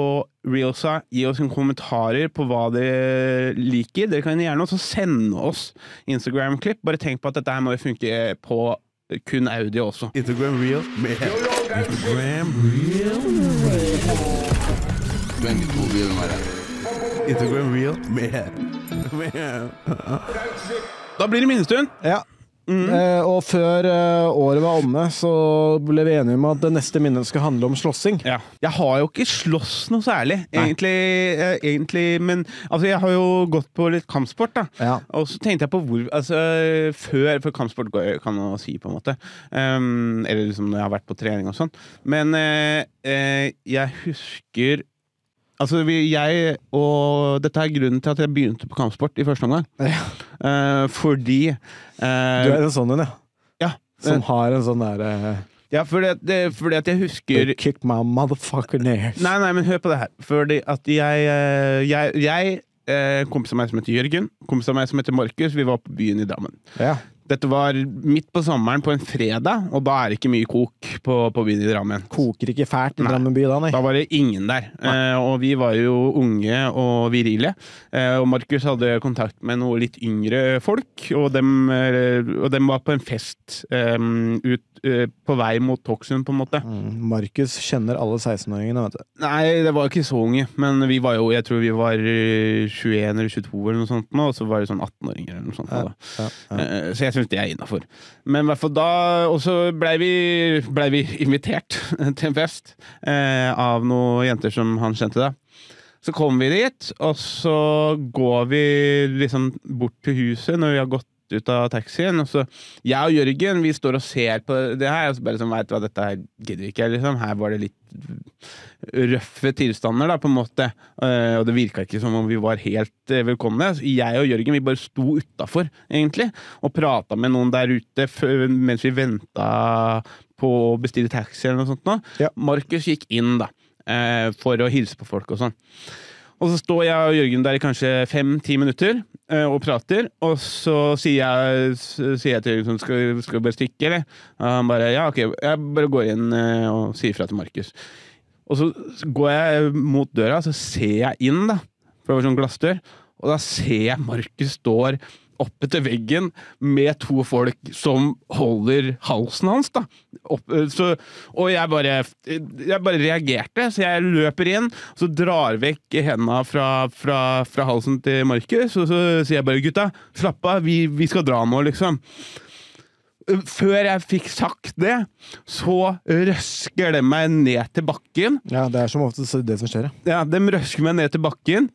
[SPEAKER 5] reelsa. Gi oss en kommentarer på hva dere liker. Dere kan gjerne også sende oss Instagram-klipp. Bare tenk på at dette her må jo funke på kun audio også. Instagram Real Mayhem. Instagram Real Instagram Real Da blir det minnestund.
[SPEAKER 6] Ja. Eh, og før eh, året var omme, så ble vi enige om at det neste minnet skal handle om slåssing.
[SPEAKER 5] Jeg har jo ikke slåss noe særlig, egentlig, eh, egentlig. Men altså, jeg har jo gått på litt kampsport, da. Og så tenkte jeg på hvor Altså, før For kampsport går- kan man si, på en måte. Um, eller liksom når jeg har vært på trening og sånn. Men eh, eh, jeg husker Altså, vi, jeg og Dette er grunnen til at jeg begynte på kampsport i første omgang. Eh, fordi
[SPEAKER 6] Du er en sånn en, ja. Som
[SPEAKER 5] eh,
[SPEAKER 6] har en sånn derre eh,
[SPEAKER 5] Ja, fordi at, det- fordi at jeg husker
[SPEAKER 6] They Kick my motherfucker ned.
[SPEAKER 5] Nei, nei, men hør på det her. Fordi at jeg, eh, jeg, jeg eh, Kompis av meg som heter Jørgen, kompis av meg som heter Markus, vi var på byen i Drammen.
[SPEAKER 6] Ja.
[SPEAKER 5] Dette var midt på sommeren på en fredag, og da er det ikke mye kok på, på byen i Drammen.
[SPEAKER 6] Koker ikke fælt i Drammen by da, nei.
[SPEAKER 5] Da var det ingen der. Eh, og vi var jo unge og virile. Eh, og Markus hadde kontakt med noe litt yngre folk, og dem, eh, og dem var på en fest eh, ut, eh, på vei mot Toksund, på en måte.
[SPEAKER 6] Mm. Markus kjenner alle 16-åringene, vet du.
[SPEAKER 5] Nei, det var ikke så unge, men vi var jo, jeg tror vi var eh, 21 eller 22 eller noe sånt nå, og så var det sånn 18-åringer eller noe sånt. nå, da. Eh, Så jeg syns det er innafor. Men i hvert fall da Og så blei vi, ble vi invitert til en fest eh, av noen jenter som han kjente, da. Så kommer vi dit, og så går vi liksom bort til huset når vi har gått ut av taxien. Og så jeg og Jørgen vi står og ser på det her, og så bare sånn, veit du hva, dette her gidder vi ikke. Liksom. Her var det litt røffe tilstander, da, på en måte. Eh, og det virka ikke som om vi var helt eh, velkomne. Så Jeg og Jørgen vi bare sto utafor, egentlig, og prata med noen der ute før, mens vi venta på å bestille taxi eller noe sånt. nå. Markus gikk inn, da, eh, for å hilse på folk og sånn. Og så står jeg og Jørgen der i kanskje fem-ti minutter, eh, og prater, og så sier jeg, s- sier jeg til liksom, skal, skal vi bare stikke, eller? Og han bare ja, ok, jeg bare går inn eh, og sier fra til Markus. Og så s- går jeg mot døra, så ser jeg inn, da, for det var sånn glassdør, og da ser jeg Markus står oppe til veggen med to folk som holder halsen hans, da. Opp, eh, så, og jeg bare, jeg bare reagerte, så jeg løper inn, så drar vekk henda fra, fra, fra halsen til Markus, og så sier jeg bare 'gutta, slapp av, vi, vi skal dra nå', liksom. Før jeg fikk sagt det, så røsker det meg ned til bakken.
[SPEAKER 6] Ja, det er som oftest det som skjer, ja.
[SPEAKER 5] Ja, de røsker meg ned til bakken.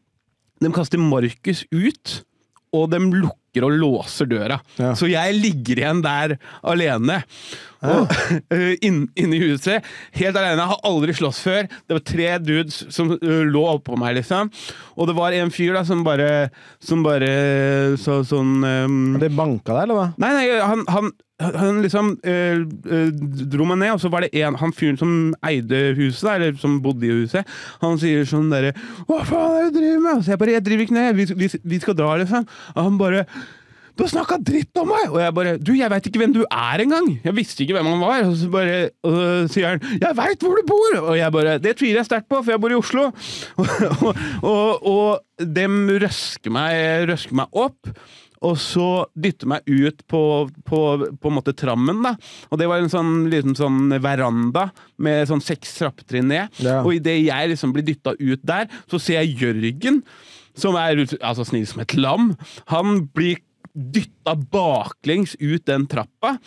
[SPEAKER 5] De kaster Markus ut, og de lukker og låser døra. Så jeg ligger igjen der alene. Og, eh, inn, inne i huset. Helt alene. Jeg har aldri slåss før. Det var tre dudes som eh, lå oppå meg, liksom. Og det var en fyr da som bare, som bare sa sånn um,
[SPEAKER 6] Det banka deg, eller hva?
[SPEAKER 5] Nei, nei, han, han, han liksom eh, eh, dro meg ned, og så var det en, han fyren som eide huset, da, eller som bodde i huset, han sier sånn derre 'Hva faen er det du driver med?' Og så jeg bare 'Jeg driver ikke ned, vi, vi, vi skal dra', liksom. Og han bare 'Du har snakka dritt om meg!' Og jeg bare 'Du, jeg veit ikke hvem du er engang!' Jeg visste ikke hvem han var. Og så bare og så sier han 'Jeg veit hvor du bor!' Og jeg bare 'Det tviler jeg sterkt på, for jeg bor i Oslo'. og, og, og dem røsker meg, røsker meg opp. Og så dytte meg ut på, på, på en måte trammen, da. Og det var en sånn, liksom sånn veranda med sånn seks trappetrinn ned.
[SPEAKER 6] Ja.
[SPEAKER 5] Og idet jeg liksom blir dytta ut der, så ser jeg Jørgen, som er altså, snill som et lam. Han blir dytta baklengs ut den trappa.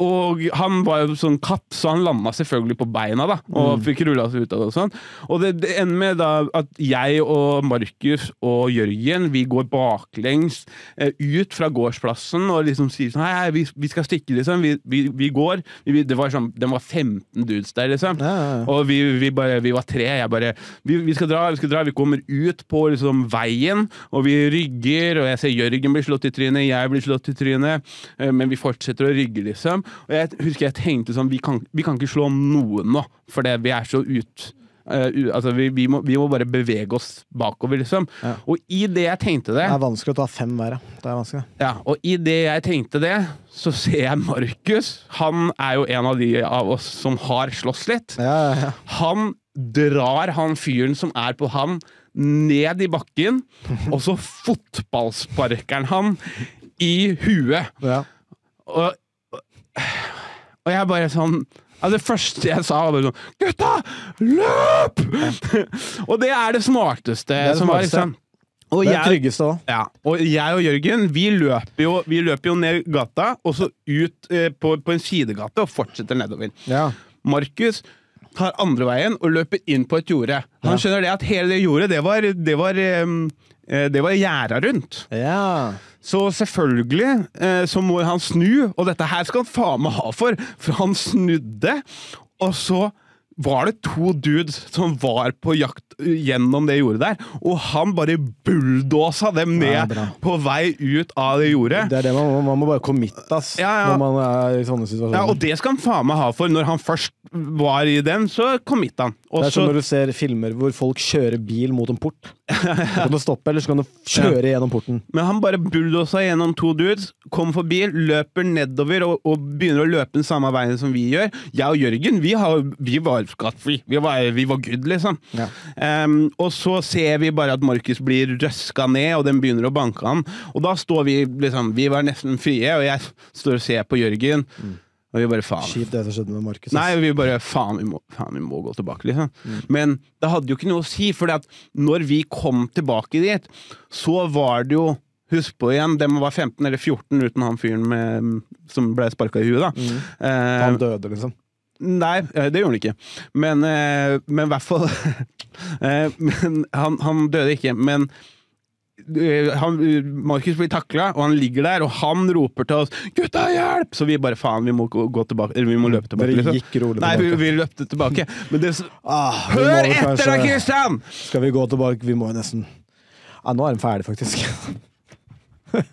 [SPEAKER 5] Og han var jo sånn katt, så han landa selvfølgelig på beina da, og fikk rulla seg ut av det. Og sånn. Og det, det ender med da at jeg og Markus og Jørgen vi går baklengs eh, ut fra gårdsplassen og liksom sier sånn Hei, hei vi, vi skal stikke, liksom. Vi, vi, vi går. Vi, det var sånn, det var 15 dudes der, liksom. Og vi, vi, bare, vi var tre. Jeg bare vi, vi skal dra, vi skal dra. Vi kommer ut på liksom veien, og vi rygger, og jeg ser Jørgen blir slått i trynet, jeg blir slått i trynet, eh, men vi fortsetter å rygge, liksom. Og jeg husker jeg tenkte sånn, vi kan, vi kan ikke slå noen nå, for det, vi er så ut... eh, u, altså vi, vi, må, vi må bare bevege oss bakover, liksom. Og i det jeg tenkte det
[SPEAKER 6] Det er vanskelig å ta fem hver, ja. Det er vanskelig.
[SPEAKER 5] ja, og i det jeg tenkte det, så ser jeg Markus. Han er jo en av de av oss som har slåss litt. Han drar han fyren som er på han, ned i bakken, og så fotballsparker han han i huet. Og, og jeg bare sånn ja, Det første jeg sa, var bare sånn Gutta, løp! og det er det smarteste
[SPEAKER 6] Det er det
[SPEAKER 5] som var.
[SPEAKER 6] smarteste.
[SPEAKER 5] Liksom. Og
[SPEAKER 6] det er
[SPEAKER 5] jeg-
[SPEAKER 6] tryggeste òg.
[SPEAKER 5] ja, og jeg og Jørgen vi løper jo, vi løper jo ned gata, og så ut eh, på, på en sidegate og fortsetter nedover. Markus tar andre veien og løper inn på et jorde. Han skjønner det at hele det jordet, det var, det var, em, eh, det var gjerda rundt. Så selvfølgelig eh, så må han snu, og dette her skal han faen meg ha for, for han snudde, og så var det to dudes som var på jakt eh, gjennom det jordet der, og han bare bulldosa dem
[SPEAKER 6] Ja,
[SPEAKER 5] ned
[SPEAKER 6] bra.
[SPEAKER 5] på vei ut av det jordet.
[SPEAKER 6] Det er det man må. Man må bare commit, ass.
[SPEAKER 5] Ja, ja.
[SPEAKER 6] Når man er i sånne
[SPEAKER 5] Ja,
[SPEAKER 6] situasjoner.
[SPEAKER 5] og det skal han faen meg ha for. Når han først var i den, så committa han. Og
[SPEAKER 6] det er som
[SPEAKER 5] så-
[SPEAKER 6] når du ser filmer hvor folk kjører bil mot en port. Så kan du stoppe, eller så kan du kjøre gjennom porten.
[SPEAKER 5] Men han bare bulldosa gjennom to dudes, kom forbi, løper nedover og, og begynner å løpe den samme veien som vi gjør. Jeg og Jørgen vi, har, vi var skattfri. Vi var, vi var good, liksom. Ehm, og så ser vi bare at Markus blir røska ned, og den begynner å banke han. Og da står vi liksom Vi var nesten frie, og jeg står og ser på Jørgen, og vi bare faen.
[SPEAKER 6] Kjipt det som skjedde med Markus. ass.
[SPEAKER 5] Nei, vi bare faen vi, må, faen, vi må gå tilbake, liksom. Men det hadde jo ikke noe å si, for når vi kom tilbake dit, så var det jo Husk på igjen, dem var 15 eller 14 uten han fyren med, som ble sparka i huet, da. Eh,
[SPEAKER 6] Han døde, liksom.
[SPEAKER 5] Nei, eh, det gjorde han ikke. Men eh, men i hvert fall eh, men han, han døde ikke, men eh, han, Markus blir takla, og han ligger der, og han roper til oss 'Gutta, hjelp!' Så vi bare faen, vi må, gå gå tilbake, eller vi må løpe tilbake. liksom.
[SPEAKER 6] Dere gikk rolig
[SPEAKER 5] Nei, vi,
[SPEAKER 6] tilbake.
[SPEAKER 5] vi løpte tilbake. Men det,
[SPEAKER 6] Ah, vi må
[SPEAKER 5] Hør
[SPEAKER 6] vel
[SPEAKER 5] etter da,
[SPEAKER 6] kanskje-
[SPEAKER 5] Kristian!
[SPEAKER 6] Skal vi gå tilbake? Vi må jo nesten Ja, nå er den ferdig, faktisk.
[SPEAKER 5] Det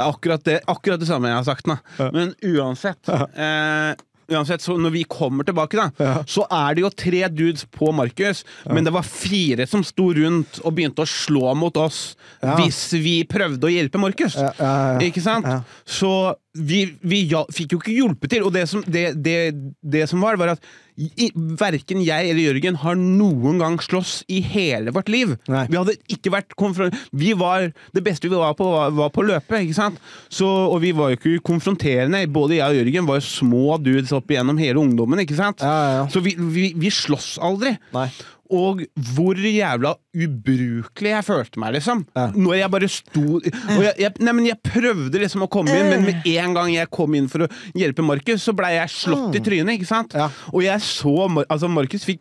[SPEAKER 5] er akkurat det, akkurat det samme jeg har sagt nå. Men uansett eh, Uansett, så når vi kommer tilbake, da, så er det jo tre dudes på Markus, men det var fire som sto rundt og begynte å slå mot oss hvis vi prøvde å hjelpe Markus. Ikke sant? Så vi, vi ja, fikk jo ikke hjulpet til. Og det som, det, det, det som var, var at i, verken jeg eller Jørgen har noen gang slåss i hele vårt liv. Vi hadde ikke vært konfron- Vi var Det beste vi var på, var, var på løpet, ikke sant? Så, og vi var jo ikke konfronterende. Både jeg og Jørgen var jo små dudes opp igjennom hele ungdommen, ikke sant? Så vi, vi, vi slåss aldri. Og hvor jævla ubrukelig jeg følte meg, liksom. Når jeg bare sto og jeg, jeg, nei, men jeg prøvde liksom å komme inn, men med en gang jeg kom inn for å hjelpe Markus, så blei jeg slått i trynet, ikke sant? Og jeg så Mar- Altså, Markus fikk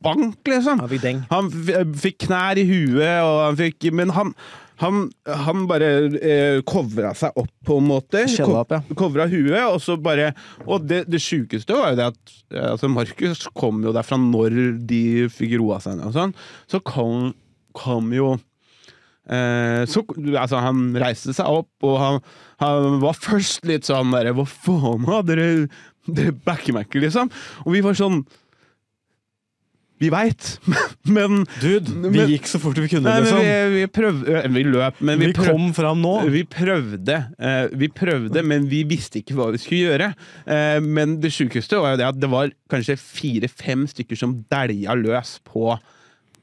[SPEAKER 5] bank, liksom. Han fikk f- eh, fikk knær i huet, og han fikk Men han han, han bare eh, covra seg opp, på en måte.
[SPEAKER 6] Skjella opp, ja.
[SPEAKER 5] Covra huet, og så bare Og det, det sjukeste var jo det at eh, altså Markus kom jo derfra når de fikk roa seg ned og sånn. Så kom, kom jo Eh, så, altså, han reiste seg opp, og han, han var først litt sånn derre Hva faen, da? Dere, dere backer meg ikke, liksom. Og vi var sånn Vi veit, men Dude,
[SPEAKER 6] vi gikk så fort vi kunne,
[SPEAKER 5] Nei, men
[SPEAKER 6] liksom.
[SPEAKER 5] vi, vi prøvde Vi løp, men vi,
[SPEAKER 6] Vi kom fram nå.
[SPEAKER 5] Vi prøvde, eh, vi prøvde,
[SPEAKER 6] Mm.
[SPEAKER 5] men vi visste ikke hva vi skulle gjøre. Eh, men det sjukeste var jo det at det var kanskje fire-fem stykker som dælja løs på,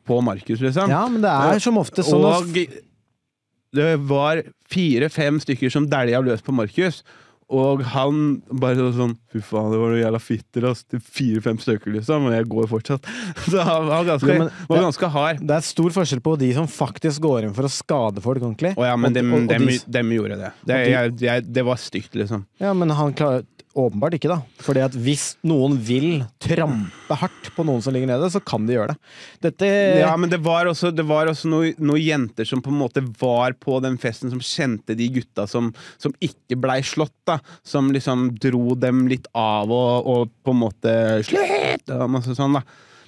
[SPEAKER 5] på Markus, liksom.
[SPEAKER 6] Ja, men det er som ofte sånn at-
[SPEAKER 5] Og det var fire-fem stykker som dælja løs på Markus. Og han bare sånn Fy faen, det var noen jævla fitter, ass. Det er Fire-fem stykker, liksom. Og jeg går fortsatt. Så han var ganske,
[SPEAKER 6] Ja, men
[SPEAKER 5] var
[SPEAKER 6] det-
[SPEAKER 5] ganske hard.
[SPEAKER 6] Det er stor forskjell på de som faktisk går inn for å skade folk ordentlig.
[SPEAKER 5] Å ja, men
[SPEAKER 6] og-
[SPEAKER 5] dem,
[SPEAKER 6] og- og
[SPEAKER 5] dem,
[SPEAKER 6] de-
[SPEAKER 5] dem gjorde det. Det,
[SPEAKER 6] og de-
[SPEAKER 5] jeg, jeg, det var stygt, liksom.
[SPEAKER 6] Ja, men han klarer åpenbart ikke, da. Fordi at hvis noen vil trampe hardt på noen som ligger nede, så kan de gjøre det. Dette
[SPEAKER 5] Ja, men det var også, det var også noen, noen jenter som på en måte var på den festen, som kjente de gutta som, som ikke blei slått, da. Som liksom dro dem litt av og, og på en måte Slitt! Og masse sånn, da.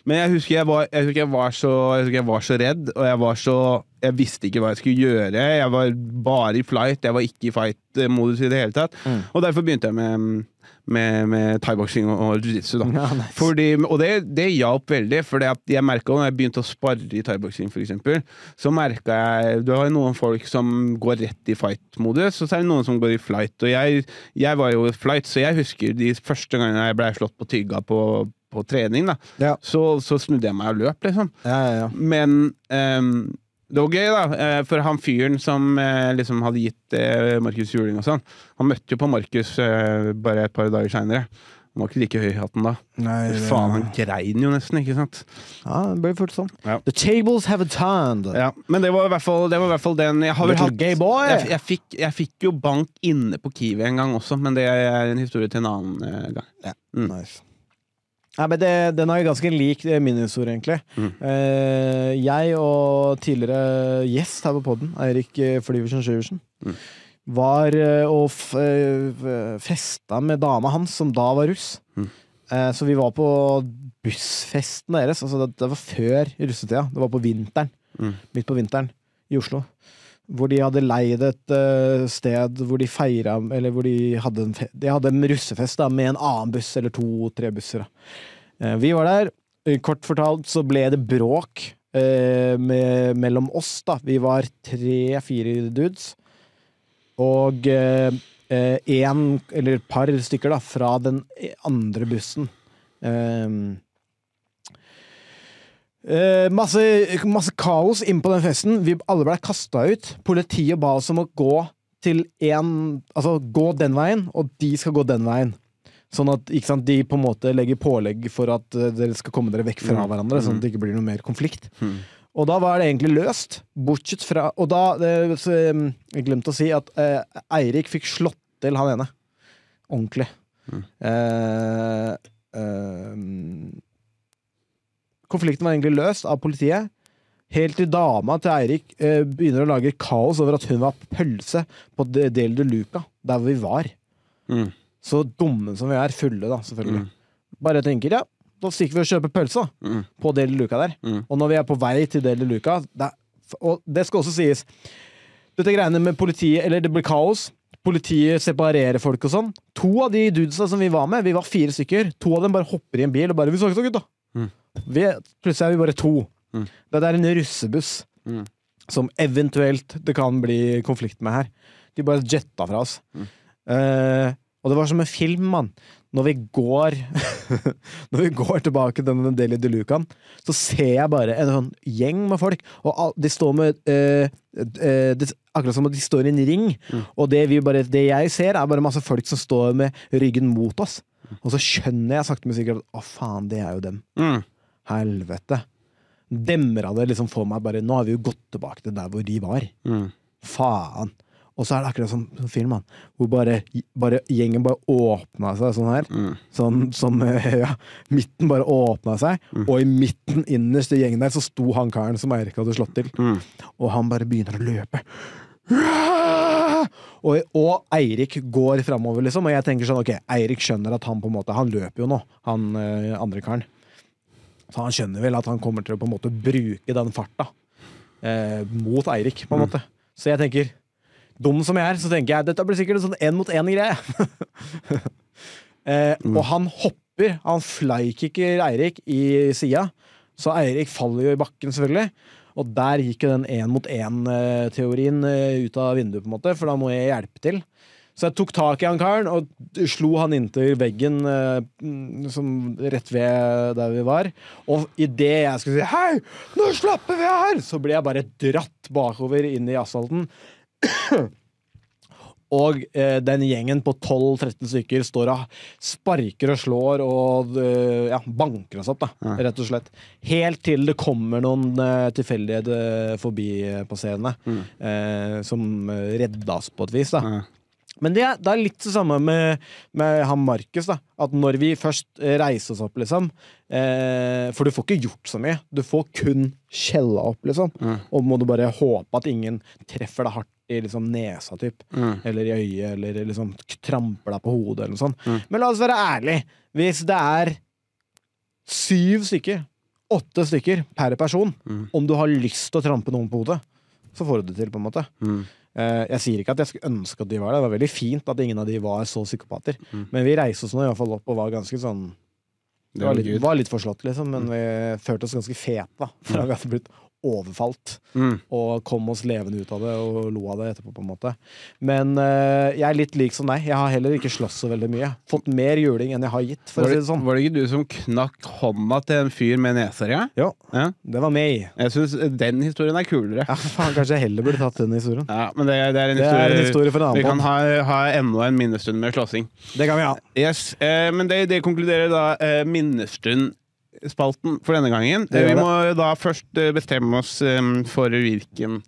[SPEAKER 5] Men jeg husker jeg, var, jeg, husker jeg, var så, jeg husker jeg var så redd, og jeg var så Jeg visste ikke hva jeg skulle gjøre. Jeg var bare i flight, jeg var ikke i eh, fight-modus i det hele tatt. Og derfor begynte jeg med med, med thaiboksing og, og jiu-jitsu. da. Fordi, og det, det hjalp veldig, for jeg merka når jeg begynte å sparre i thaiboksing, f.eks., så merka jeg Du har jo noen folk som går rett i fight-modus, og så er det noen som går i flight. Og jeg, jeg var jo i flight, så jeg husker de første gangene jeg blei slått på tygga på, på trening, da, så, så snudde jeg meg og løp, liksom. Men ehm, det var gøy, da. eh, For han fyren som eh, liksom hadde gitt eh, Markus juling og sånn, han møtte jo på Markus eh, bare et par dager seinere. Han var ikke like høy i hatten da.
[SPEAKER 6] Nei, det-
[SPEAKER 5] Faen, han grein jo nesten, ikke sant?
[SPEAKER 6] Ja, det blir fort sånn.
[SPEAKER 5] Ja.
[SPEAKER 6] The tables have a turned.
[SPEAKER 5] Ja, men det var i hvert fall, det var i hvert fall den jeg har vel
[SPEAKER 6] Little
[SPEAKER 5] hatt,
[SPEAKER 6] gay boy!
[SPEAKER 5] Jeg, jeg, fikk, jeg fikk jo bank inne på Kiwi en gang også, men det er en historie til en annen eh, gang. Mm.
[SPEAKER 6] Nei, men det, Den er jo ganske lik eh, min historie, egentlig. Eh, jeg og tidligere gjest her på poden, Eirik eh, Flyversen Sjuversen, var eh, og f eh, f- festa med dama hans, som da var russ. Eh, så vi var på bussfesten deres. Altså det, det var før russetida. Det var på vinteren. Midt på vinteren i Oslo. Hvor de hadde leid et eh, sted hvor de feira Eller hvor de hadde en, fe de hadde en russefest da, med en annen buss, eller to-tre busser. Da. Eh, vi var der. Eh, Kort fortalt så ble det bråk eh, med, mellom oss, da. Vi var tre-fire dudes. Og én eh, en- eller et par stykker da, fra den e-, andre bussen. Ehm, Eh, masse, masse kaos inn på den festen. Vi alle ble kasta ut. Politiet ba oss om å gå til en, altså gå den veien, og de skal gå den veien. Sånn at ikke sant, de på en måte legger pålegg for at eh, dere skal komme dere vekk fra
[SPEAKER 5] Mm.
[SPEAKER 6] hverandre,
[SPEAKER 5] Mm.
[SPEAKER 6] sånn at det ikke blir noe mer konflikt.
[SPEAKER 5] Mm.
[SPEAKER 6] Og da var det egentlig løst, bortsett fra Og da eh, så, eh, Jeg glemte å si at eh, Eirik fikk slått til han ene. Ordentlig.
[SPEAKER 5] Mm.
[SPEAKER 6] Eh, eh, konflikten var egentlig løst av politiet. Helt til dama til Eirik eh, begynner å lage kaos over at hun var pølse på De- Del de Luca, der hvor vi var.
[SPEAKER 5] Mm.
[SPEAKER 6] Så dumme som vi er, fulle da, selvfølgelig. Bare tenker, ja, da stikker vi og kjøper pølse da, på Del de Luca der. Og når vi er på vei til Del de Luca, det, er- og det skal også sies, dette greiene med politiet, eller det blir kaos, Politiet separerer folk og sånn. To av de dudesa som vi var med, vi var fire stykker, to av dem bare hopper i en bil og bare 'Vi snakkes da, gutta!'
[SPEAKER 5] Mm.
[SPEAKER 6] Vi, plutselig er vi bare to.
[SPEAKER 5] Mm.
[SPEAKER 6] Det er en russebuss
[SPEAKER 5] Mm.
[SPEAKER 6] som eventuelt det kan bli konflikt med her. De bare jetta fra oss.
[SPEAKER 5] Mm.
[SPEAKER 6] Eh, og det var som en film, mann. Når vi går Når vi går tilbake til denne Deli de Lucaen, så ser jeg bare en sånn gjeng med folk, og al- de står med eh, eh, det, Akkurat som at de står i en ring,
[SPEAKER 5] Mm.
[SPEAKER 6] og det, vi bare, det jeg ser, er bare masse folk som står med ryggen mot oss.
[SPEAKER 5] Mm.
[SPEAKER 6] Og så skjønner jeg sakte, men sikkert at å, faen, det er jo dem.
[SPEAKER 5] Mm.
[SPEAKER 6] Helvete. Demra det liksom for meg bare Nå har vi jo gått tilbake til der hvor de var. Faen. Og så er det akkurat som som film, han, hvor bare, bare gjengen bare åpna seg sånn her. Sånn som eh, ja, Midten bare åpna seg, og i midten, innerst i gjengen der, så sto han karen som Eirik hadde slått til. Og han bare begynner å løpe. Og, og Eirik går framover, liksom. Og jeg tenker sånn, ok, Eirik skjønner at han på en måte Han løper jo nå, han eh, andre karen. Så han skjønner vel at han kommer til å på en måte bruke den farta eh, mot Eirik, på en måte. Så jeg tenker, dum som jeg er, så tenker jeg dette blir sikkert en sånn én mot én-greie. eh, og han hopper, han flykicker Eirik i sida, så Eirik faller jo i bakken, selvfølgelig. Og der gikk jo den én mot én-teorien eh, ut av vinduet, på en måte, for da må jeg hjelpe til. Så jeg tok tak i han karen og slo han inntil veggen eh, mm, som rett ved der vi var. Og idet jeg skulle si 'hei, nå slapper vi av her', så ble jeg bare dratt bakover inn i asfalten. Og eh, den gjengen på 12-13 stykker står og sparker og slår og eh, ja, banker oss opp, da,
[SPEAKER 5] Ja.
[SPEAKER 6] rett og slett. Helt til det kommer noen eh, tilfeldige eh, forbipasserende eh, som eh, redda oss på et vis. da. Men det er, det er litt det samme med, med han Markus. da, At når vi først eh, reiser oss opp, liksom eh, For du får ikke gjort så mye. Du får kun skjella opp, liksom. Og må du bare håpe at ingen treffer deg hardt i liksom, nesa, typ.
[SPEAKER 5] Mm.
[SPEAKER 6] Eller i øyet, eller liksom k- tramper deg på hodet, eller noe sånt. Men la oss være ærlige. Hvis det er syv stykker, åtte stykker per person, om du har lyst til å trampe noen på hodet, så får du det til, på en måte. Eh, Jeg sier ikke at jeg skulle ønske at de var der. Det var veldig fint at ingen av de var så psykopater. Men vi reiste oss nå i hvert fall opp og var ganske sånn
[SPEAKER 5] Mm. Det
[SPEAKER 6] Det
[SPEAKER 5] var
[SPEAKER 6] var litt,
[SPEAKER 5] gud. Mm.
[SPEAKER 6] var litt forslått, liksom, men vi følte oss ganske fete, da. For vi hadde blitt overfalt.
[SPEAKER 5] Mm.
[SPEAKER 6] Og kom oss levende ut av det og lo av det etterpå, på en måte. Men eh, jeg er litt lik som deg. Jeg har heller ikke slåss så veldig mye. Fått mer juling enn jeg har gitt, for
[SPEAKER 5] Var
[SPEAKER 6] å si
[SPEAKER 5] det,
[SPEAKER 6] det sånn.
[SPEAKER 5] var det ikke du som knakk hånda til en fyr med nesere?
[SPEAKER 6] Ja,
[SPEAKER 5] ja?
[SPEAKER 6] det var meg.
[SPEAKER 5] Jeg syns den historien er kulere.
[SPEAKER 6] Ja, faen, kanskje jeg heller burde tatt den historien.
[SPEAKER 5] Ja, men det, det, er en
[SPEAKER 6] Det er
[SPEAKER 5] historie,
[SPEAKER 6] en historie for en annen
[SPEAKER 5] Vi kan
[SPEAKER 6] podd.
[SPEAKER 5] ha, ha enda en minnestund med slåssing.
[SPEAKER 6] Det kan vi ha.
[SPEAKER 5] Yes, eh, Men det, det konkluderer da eh, minnestundspalten for denne gangen.
[SPEAKER 6] Det gjør
[SPEAKER 5] Eh, vi
[SPEAKER 6] det.
[SPEAKER 5] må da først eh, bestemme oss eh, for hvilken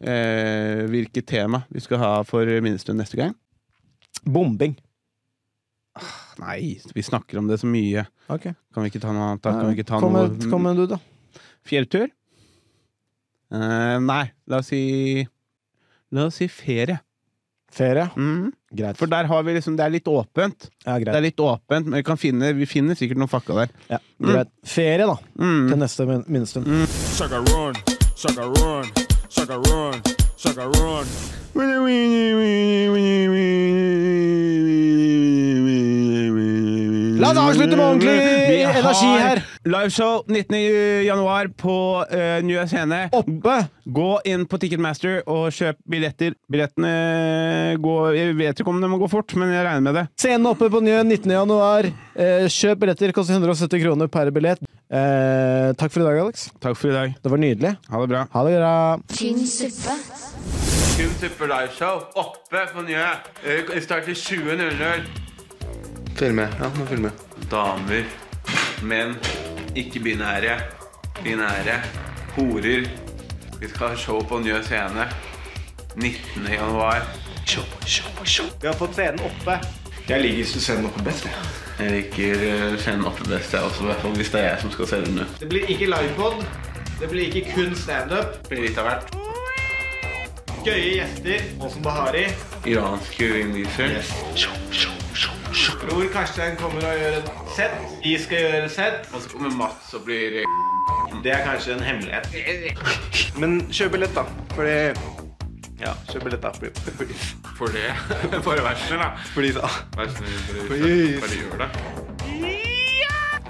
[SPEAKER 5] eh, hvilket tema vi skal ha for minnestund neste gang.
[SPEAKER 6] Bombing.
[SPEAKER 5] Nei, vi snakker om det så mye.
[SPEAKER 6] Ok.
[SPEAKER 5] Kan vi ikke ta noe annet? da? Kan vi ikke ta
[SPEAKER 6] Kom med,
[SPEAKER 5] noe
[SPEAKER 6] kom med du, da.
[SPEAKER 5] Fjelltur? Eh, nei, la oss si La oss si ferie.
[SPEAKER 6] Ferie?
[SPEAKER 5] Mm.
[SPEAKER 6] Greit.
[SPEAKER 5] For der har vi liksom Det er litt åpent.
[SPEAKER 6] Ja, greit.
[SPEAKER 5] Det er litt åpent, men vi, kan finne, vi finner sikkert noen fakka der.
[SPEAKER 6] Greit. Mm. Ferie, da. Til neste min- minnestund.
[SPEAKER 17] Sucker run, sucker run, sucker run, sucker run.
[SPEAKER 6] La oss avslutte med ordentlig
[SPEAKER 5] Vi har
[SPEAKER 6] energi her.
[SPEAKER 5] Liveshow 19. januar på uh, Nye Scene.
[SPEAKER 6] Oppe!
[SPEAKER 5] Gå inn på Ticketmaster og kjøp billetter. Billettene går Jeg vet ikke om de må gå fort, men jeg regner med det.
[SPEAKER 6] Scenen oppe på Njø 19. januar. Eh, kjøp billetter. Koster 170 kroner per billett. Eh, takk for i dag, Alex.
[SPEAKER 5] Takk for i dag.
[SPEAKER 6] Det var nydelig.
[SPEAKER 5] Ha det bra.
[SPEAKER 6] Ha det bra.
[SPEAKER 4] Tynn suppe.
[SPEAKER 1] Kun Super Live Show oppe på Njø. Eh, Starter 20.00.
[SPEAKER 2] Følg med. Ja, må følge med.
[SPEAKER 1] Damer, menn, ikke-binære, binære, horer. Vi skal ha show på Njø scene 19. januar. Show, show, show.
[SPEAKER 3] Vi har fått scenen oppe.
[SPEAKER 2] Jeg liker scenen oppe best. jeg.
[SPEAKER 1] Jeg liker eh, scenen oppe best, jeg også, i hvert fall hvis det er jeg som skal selge den.
[SPEAKER 3] Det blir ikke livepod. Det blir ikke kun standup.
[SPEAKER 1] Det blir litt av hvert.
[SPEAKER 3] Gøye gjester. Åsen Bahari.
[SPEAKER 1] Iranske ringviser.
[SPEAKER 3] Bror Karstein kommer og gjør et sett. Vi skal gjøre et sett.
[SPEAKER 1] Og så kommer Mats og blir
[SPEAKER 3] Det er kanskje en hemmelighet. Men kjøp billett, da. Fordi Ja, kjøp billett, da. Fordi-
[SPEAKER 5] for det. Bare vær snill, da.
[SPEAKER 3] Fordi da
[SPEAKER 5] Vær snill,
[SPEAKER 3] Please.
[SPEAKER 5] bare, bare gjør det.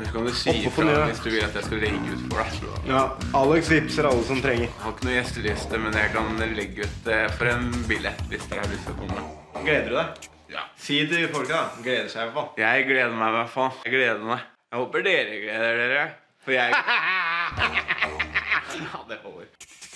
[SPEAKER 5] Men Så kan du si
[SPEAKER 3] Opp og
[SPEAKER 5] ifra
[SPEAKER 3] ned.
[SPEAKER 5] hvis du vil at jeg skal legge ut for deg.
[SPEAKER 3] Ja, Alex vipser alle som trenger.
[SPEAKER 5] Jeg har ikke noe gjesteliste, men jeg kan legge ut eh, for en billett hvis dere har lyst til å komme.
[SPEAKER 3] Gleder du deg? Ja. Si til folka, da. Gleder seg i hvert fall.
[SPEAKER 5] Jeg gleder meg i hvert fall. Jeg gleder meg. Jeg håper dere gleder dere. For jeg Ja, det holder.